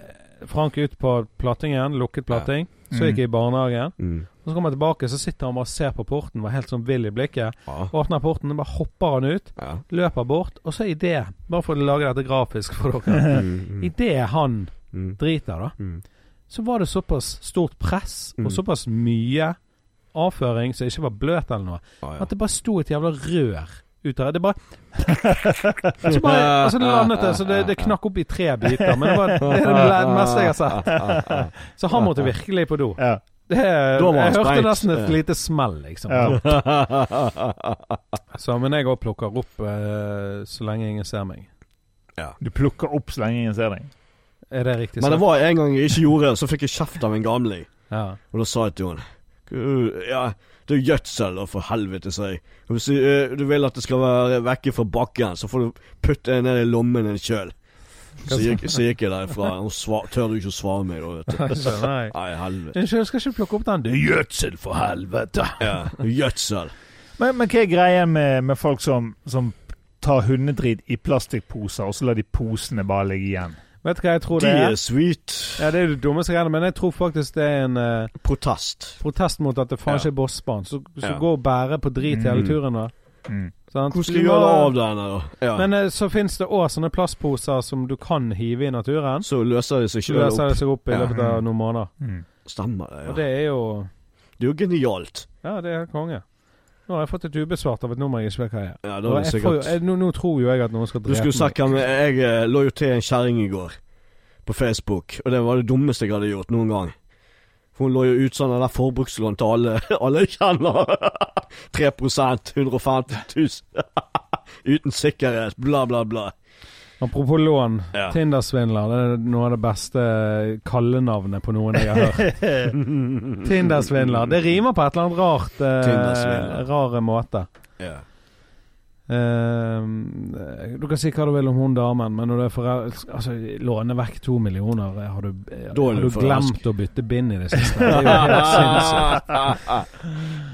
Speaker 1: Frank ut på plattingen, lukket platting. Så gikk jeg i barnehagen.
Speaker 2: Mm.
Speaker 1: Og så kom jeg tilbake, så sitter han bare og ser på porten, var helt sånn vill i blikket.
Speaker 2: Ja.
Speaker 1: Åpner porten, og bare hopper han ut,
Speaker 2: Ja.
Speaker 1: løper bort, og så i det Bare for å lage dette grafisk for dere.
Speaker 2: Mm.
Speaker 1: Eh, I det han
Speaker 2: Mm.
Speaker 1: driter, da,
Speaker 2: Mm.
Speaker 1: så var det såpass stort press,
Speaker 2: Mm.
Speaker 1: og såpass mye avføring som ikke var bløt eller noe,
Speaker 2: Ja, ja.
Speaker 1: at det bare sto et jævla rør ut av det.
Speaker 2: [LAUGHS]
Speaker 1: Det bare Så bare altså det landet det, så det, det knakk opp i tre biter. Men det
Speaker 2: [LAUGHS]
Speaker 1: var [LAUGHS] det, er det le- meste jeg har sett. Så han måtte virkelig på do.
Speaker 3: Ja.
Speaker 1: Det, jeg
Speaker 2: Da var han
Speaker 1: hørte
Speaker 2: sprengt.
Speaker 1: nesten et lite smell, liksom.
Speaker 3: Ja.
Speaker 1: Så, men jeg òg plukker opp eh, så lenge ingen ser meg.
Speaker 3: Du plukker opp så lenge ingen ser deg.
Speaker 1: Er det riktig?
Speaker 2: [LAUGHS] Men det
Speaker 1: sagt?
Speaker 2: var en gang jeg ikke gjorde det, så fikk jeg kjeft av en gamling.
Speaker 1: ja.
Speaker 2: Og da sa jeg til henne «Gud, Ja, det er jo gjødsel, da, for helvete, sa jeg. Og Hvis eh, du vil at det skal være vekke fra bakken, så får du putte det ned i lommen din sjøl. Så, gikk- så gikk jeg derfra. Hun svar, tør du ikke å svare meg, da, vet du.
Speaker 1: Så, [LAUGHS] nei.
Speaker 2: Nei, helvete.
Speaker 1: Unnskyld, jeg skal ikke plukke opp den. Det er gjødsel, for helvete!
Speaker 2: Ja, gjødsel.
Speaker 3: Men, men hva er greia med, med folk som, som tar hundedrit i plastikkposer, og så lar de posene bare ligge igjen?
Speaker 1: Vet du hva jeg tror
Speaker 2: De
Speaker 1: det er?
Speaker 2: er sweet.
Speaker 1: Ja, Det er jo det dummeste greiene, men jeg tror faktisk det er en eh,
Speaker 2: Protest.
Speaker 1: protest mot at det faen ikke er bossbanen. Så, så
Speaker 2: Ja.
Speaker 1: gå og bære på drit hele
Speaker 3: Mm.
Speaker 1: turen, da.
Speaker 3: Mm.
Speaker 1: Sant?
Speaker 2: Hvordan skal
Speaker 1: Du
Speaker 2: jeg gjøre
Speaker 1: må-
Speaker 2: av denne, da? Ja.
Speaker 1: Men eh, så fins det òg sånne plastposer som du kan hive i naturen.
Speaker 2: så løser det seg
Speaker 1: Så
Speaker 2: sjøl
Speaker 1: løser
Speaker 2: opp.
Speaker 1: det seg opp i
Speaker 2: Ja.
Speaker 1: løpet av noen måneder.
Speaker 3: Mm.
Speaker 2: Stemmer det,
Speaker 1: Og
Speaker 2: ja.
Speaker 1: det er jo
Speaker 2: Det er jo genialt.
Speaker 1: Ja, det er konge. Nå har jeg fått et ubesvart av et nummer jeg ikke vet hva er.
Speaker 2: Ja, da
Speaker 1: Og
Speaker 2: er det
Speaker 1: jeg får jo,
Speaker 2: sikkert
Speaker 1: jeg, nå, nå tror jo jeg at noen skal
Speaker 2: Du
Speaker 1: drepe
Speaker 2: skulle sagt hvem Jeg eh, lå jo til en kjerring i går på Facebook, og det var det dummeste jeg hadde gjort noen gang. For hun lå jo ut sånn av der forbrukslån til alle, [LAUGHS] alle jeg kjenner. [LAUGHS] 3 150 000. [LAUGHS] Uten sikkerhet, bla, bla, bla.
Speaker 1: Apropos lån.
Speaker 2: Ja.
Speaker 1: Tindersvindler. Det er noe av det beste eh, kallenavnet på noen jeg har
Speaker 2: [LAUGHS]
Speaker 1: hørt. Tindersvindler. Det rimer på et eller annet rart. Eh,
Speaker 2: Tindersvindler.
Speaker 1: rare måte.
Speaker 2: Ja.
Speaker 1: Ehm, eh, du kan si hva du vil om hun damen, men når du er forelsk... Altså, låne vekk to millioner eh, Har du, eh,
Speaker 2: Da er
Speaker 1: har
Speaker 2: du
Speaker 1: du
Speaker 2: forelsket.
Speaker 1: glemt å bytte bind i det
Speaker 2: [LAUGHS]
Speaker 1: siste? Det er jo helt sinnssykt.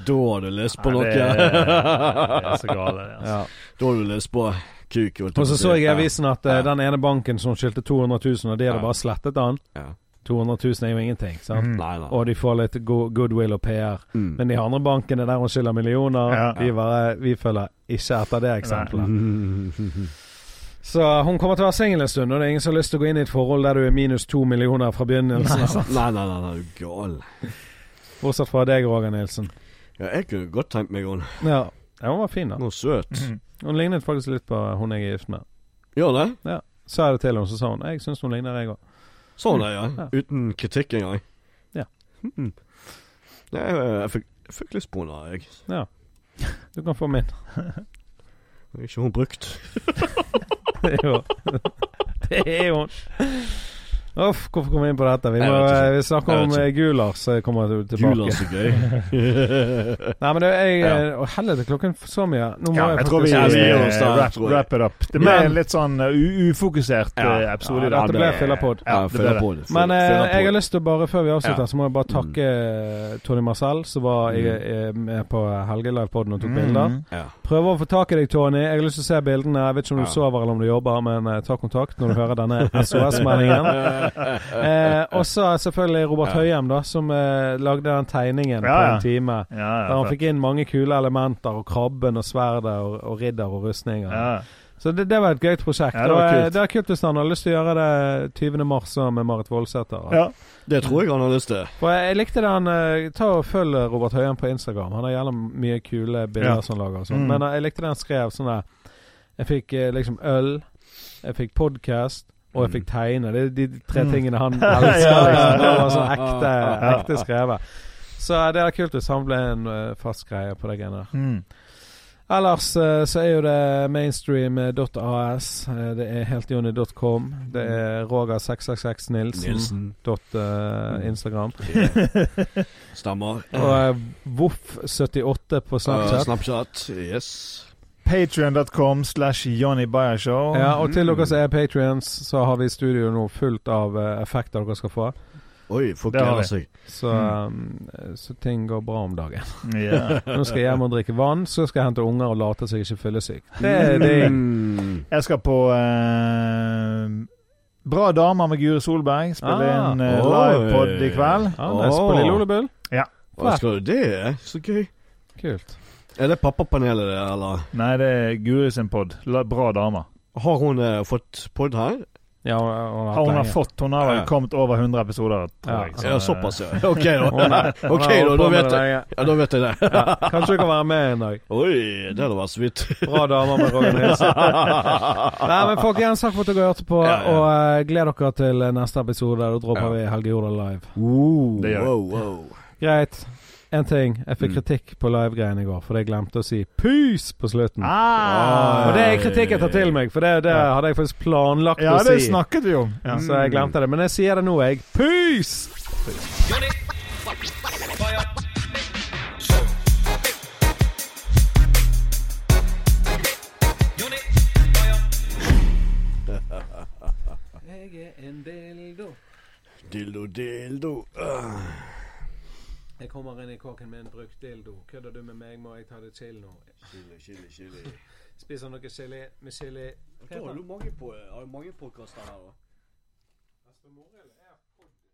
Speaker 2: Da har du lyst på
Speaker 3: Ja,
Speaker 2: noe.
Speaker 3: det er- det er så gale, det. Altså.
Speaker 1: Ja.
Speaker 2: [LAUGHS] Da har du lyst på kuk. holdt jeg på
Speaker 1: Og
Speaker 2: å
Speaker 1: så
Speaker 2: si.
Speaker 1: så jeg i
Speaker 2: Ja.
Speaker 1: avisen at eh, den ene banken som skyldte 200 000, og de hadde
Speaker 2: Ja.
Speaker 1: bare slettet den.
Speaker 2: Ja. Mhm.
Speaker 1: 200 000 er jo ingenting, sant?
Speaker 3: Mm.
Speaker 2: Nei, nei.
Speaker 1: Og de får litt go goodwill og PR.
Speaker 2: Mm. [LAUGHS]
Speaker 1: Men de andre bankene der hun skylder millioner,
Speaker 3: Ja.
Speaker 1: vi, bare, vi følger ikke etter det
Speaker 2: Mhm.
Speaker 1: eksempelet.
Speaker 2: Mm.
Speaker 1: Så hun kommer til å være singel en stund, og det er ingen som har lyst til å gå inn i et forhold der du er minus to millioner fra begynnelsen. av.
Speaker 2: Nei, nei, nei, nei, du er gal.
Speaker 1: Bortsett fra deg, Roger Nilsen.
Speaker 2: Ja, jeg kunne godt tenkt meg henne.
Speaker 1: Ja. ja, hun var fin, da.
Speaker 2: Hun er søt.
Speaker 3: Mm.
Speaker 1: Hun lignet faktisk litt på hun jeg er gift med.
Speaker 2: Gjør det?
Speaker 1: Sa jeg det til henne, så sa hun jeg syns hun ligner jeg òg.
Speaker 2: Sånn er jeg,
Speaker 1: Ja.
Speaker 2: uten kritikk engang.
Speaker 1: Ja.
Speaker 2: Mhm. Nei, jeg, jeg fikk, jeg fikk litt spona, jeg.
Speaker 1: Du kan få min. [LAUGHS]
Speaker 2: Det er Ikke hun brukt.
Speaker 1: jo. [LAUGHS] Det er hun. Uff, hvorfor kom vi inn på dette? Vi,
Speaker 2: Jeg
Speaker 1: må,
Speaker 2: vet ikke.
Speaker 1: vi snakker
Speaker 2: Jeg
Speaker 1: om
Speaker 2: vet
Speaker 1: eh, Gulas som kommer til- tilbake.
Speaker 2: Jul er så
Speaker 1: [LAUGHS]
Speaker 2: gøy.
Speaker 1: Nei, men det, jeg
Speaker 2: Ja.
Speaker 1: eh, Å, helvete, klokken f- så mye. Nå må
Speaker 3: Ja,
Speaker 1: jeg,
Speaker 3: jeg tror vi
Speaker 2: Ja, vi
Speaker 3: eh,
Speaker 2: gjør oss der,
Speaker 3: wrap,
Speaker 2: tror jeg.
Speaker 3: wrap it up. Det ble
Speaker 1: Men-
Speaker 3: en litt sånn uh, u- ufokusert
Speaker 2: Ja.
Speaker 3: eh, episode. i
Speaker 1: Ja,
Speaker 3: dag.
Speaker 1: dette ble fyllerpod.
Speaker 3: Ja, det ble det.
Speaker 1: Men eh, jeg har lyst til å bare, før vi avslutter,
Speaker 2: Ja.
Speaker 1: så må jeg bare takke eh, Tony Marcel, som var i,
Speaker 2: Mm.
Speaker 1: i, med på Helgelivepodden og tok bilder.
Speaker 3: Mm.
Speaker 2: ja.
Speaker 1: Prøv å få tak i deg, Tony. Jeg har lyst til å se bildene. Jeg vet ikke om du
Speaker 2: Ja.
Speaker 1: sover eller om du jobber, men eh, ta kontakt når du hører denne
Speaker 3: [LAUGHS]
Speaker 1: SOS-meldingen. Eh, og så selvfølgelig Robert Høyem, da, som eh, lagde den tegningen
Speaker 3: Ja,
Speaker 1: på
Speaker 3: ja.
Speaker 1: en time.
Speaker 3: Ja,
Speaker 1: Der
Speaker 3: ja,
Speaker 1: han fikk inn mange kule elementer, og krabben og sverdet og, og ridder og rustninger.
Speaker 3: ja.
Speaker 1: Så det, det var et gøyt prosjekt.
Speaker 3: Ja, det
Speaker 1: og,
Speaker 3: var
Speaker 1: eh,
Speaker 3: kult.
Speaker 1: det er kult hvis han har lyst til å gjøre det 20. mars også med Marit Voldsæter.
Speaker 3: Ja.
Speaker 2: [LAUGHS] Det tror jeg han har lyst til.
Speaker 1: For jeg, jeg likte det han eh, Ta og Følg Robert Høyem på Instagram. Han har gjerne mye kule bilder
Speaker 3: Ja.
Speaker 1: som han lager. Og sånn.
Speaker 3: Mm.
Speaker 1: Men eh, jeg likte det han skrev sånn der Jeg fikk eh, liksom øl, jeg fikk podkast, og jeg fikk tegne. Det er de tre
Speaker 3: Mm.
Speaker 1: tingene han
Speaker 3: [LAUGHS] Ja,
Speaker 1: elsker.
Speaker 3: ja,
Speaker 1: Liksom.
Speaker 3: ja.
Speaker 1: Det var sånn ekte, ekte skrevet. Så det er kult hvis han ble en eh, fast greie på det greiene der.
Speaker 3: [LAUGHS] Mm.
Speaker 1: Ellers eh, så er jo det mainstream.as. eh, Det er heltjonny.com. Det er Roger666Nilsen.
Speaker 2: Nilsen.
Speaker 1: Dot, eh, Instagram.
Speaker 2: Stammer.
Speaker 1: Og eh, voff78 på
Speaker 2: Snapchat.
Speaker 1: Snapchat.
Speaker 2: Snapchat. Yes.
Speaker 3: Patreon.com slash Johnny Bayershow.
Speaker 1: Ja, og
Speaker 2: Mm.
Speaker 1: til dere som er patrions, så har vi studio nå fullt av eh, effekter dere skal få.
Speaker 2: Oi, folk
Speaker 3: Det har
Speaker 2: gleder
Speaker 3: vi.
Speaker 2: seg.
Speaker 1: Så,
Speaker 2: Mm.
Speaker 1: eh, så ting går bra om dagen. [LAUGHS]
Speaker 3: Ja.
Speaker 1: Nå skal jeg hjem og drikke vann, så skal jeg hente unger og late som jeg ikke er fyllesyk. Det er det.
Speaker 2: Mm.
Speaker 3: Jeg skal på eh, Bra damer med Guri Solberg. Spille
Speaker 1: Ah,
Speaker 3: en
Speaker 2: oi.
Speaker 3: uh, livepod i kveld.
Speaker 1: Ja, nice. På Lille Ole Bull.
Speaker 2: Hva skal du det? Så gøy.
Speaker 1: Kult.
Speaker 2: Er det pappapanelet det, eller?
Speaker 3: Nei, det er Guri sin pod. La, bra damer.
Speaker 2: Har hun eh, fått pod her?
Speaker 1: Ja, hun har
Speaker 3: Har
Speaker 1: hatt
Speaker 3: hun har
Speaker 1: lenge.
Speaker 3: fått Hun har vel
Speaker 2: Ja.
Speaker 3: kommet over 100 episoder, tror
Speaker 1: Ah, Ja.
Speaker 3: jeg.
Speaker 1: Så,
Speaker 2: Ja, såpass, ja. [LAUGHS] Ok,
Speaker 1: [LAUGHS]
Speaker 2: da.
Speaker 1: Hun
Speaker 2: Ok,
Speaker 1: har
Speaker 2: da,
Speaker 1: holdt
Speaker 2: da,
Speaker 1: på med
Speaker 2: vet
Speaker 1: det
Speaker 2: jeg.
Speaker 1: lenge.
Speaker 2: Ja, da vet jeg det.
Speaker 1: Ja, kanskje du kan være med en dag.
Speaker 2: Oi, [LAUGHS] det hadde vært så vidt.
Speaker 1: Bra damer med Roger Nilsen. Nei, men folkens, takk for at dere hørte på,
Speaker 2: Ja, ja.
Speaker 1: og eh, gled dere til eh, neste episode. Da dropper
Speaker 2: Ja.
Speaker 1: vi Helge Jordal live.
Speaker 2: Wow,
Speaker 3: Det gjør jeg.
Speaker 2: wow, wow.
Speaker 1: Greit. En ting. Jeg fikk
Speaker 2: Mm.
Speaker 1: kritikk på live-greiene i går, for jeg glemte å si pus på slutten.
Speaker 3: Ah,
Speaker 1: Og det er kritikk jeg tar til meg, for det, det
Speaker 3: Ja.
Speaker 1: hadde jeg faktisk planlagt
Speaker 3: ja,
Speaker 1: å
Speaker 3: det
Speaker 1: si. Mm.
Speaker 3: snakket vi om. Ja.
Speaker 1: Så jeg glemte det. Men jeg sier det nå, jeg. Pus! Jeg er en dildo.
Speaker 2: Dildo, dildo. Ah.
Speaker 1: Jeg kommer inn i kåken med en brukt dildo. Kødder du med meg, må jeg ta det chill nå.
Speaker 2: Chili, chili, chili.
Speaker 1: Spiser noe chili med chili.
Speaker 2: eh, Har du mange, på, har du mange podkaster her, da?
Speaker 1: Hva heter den?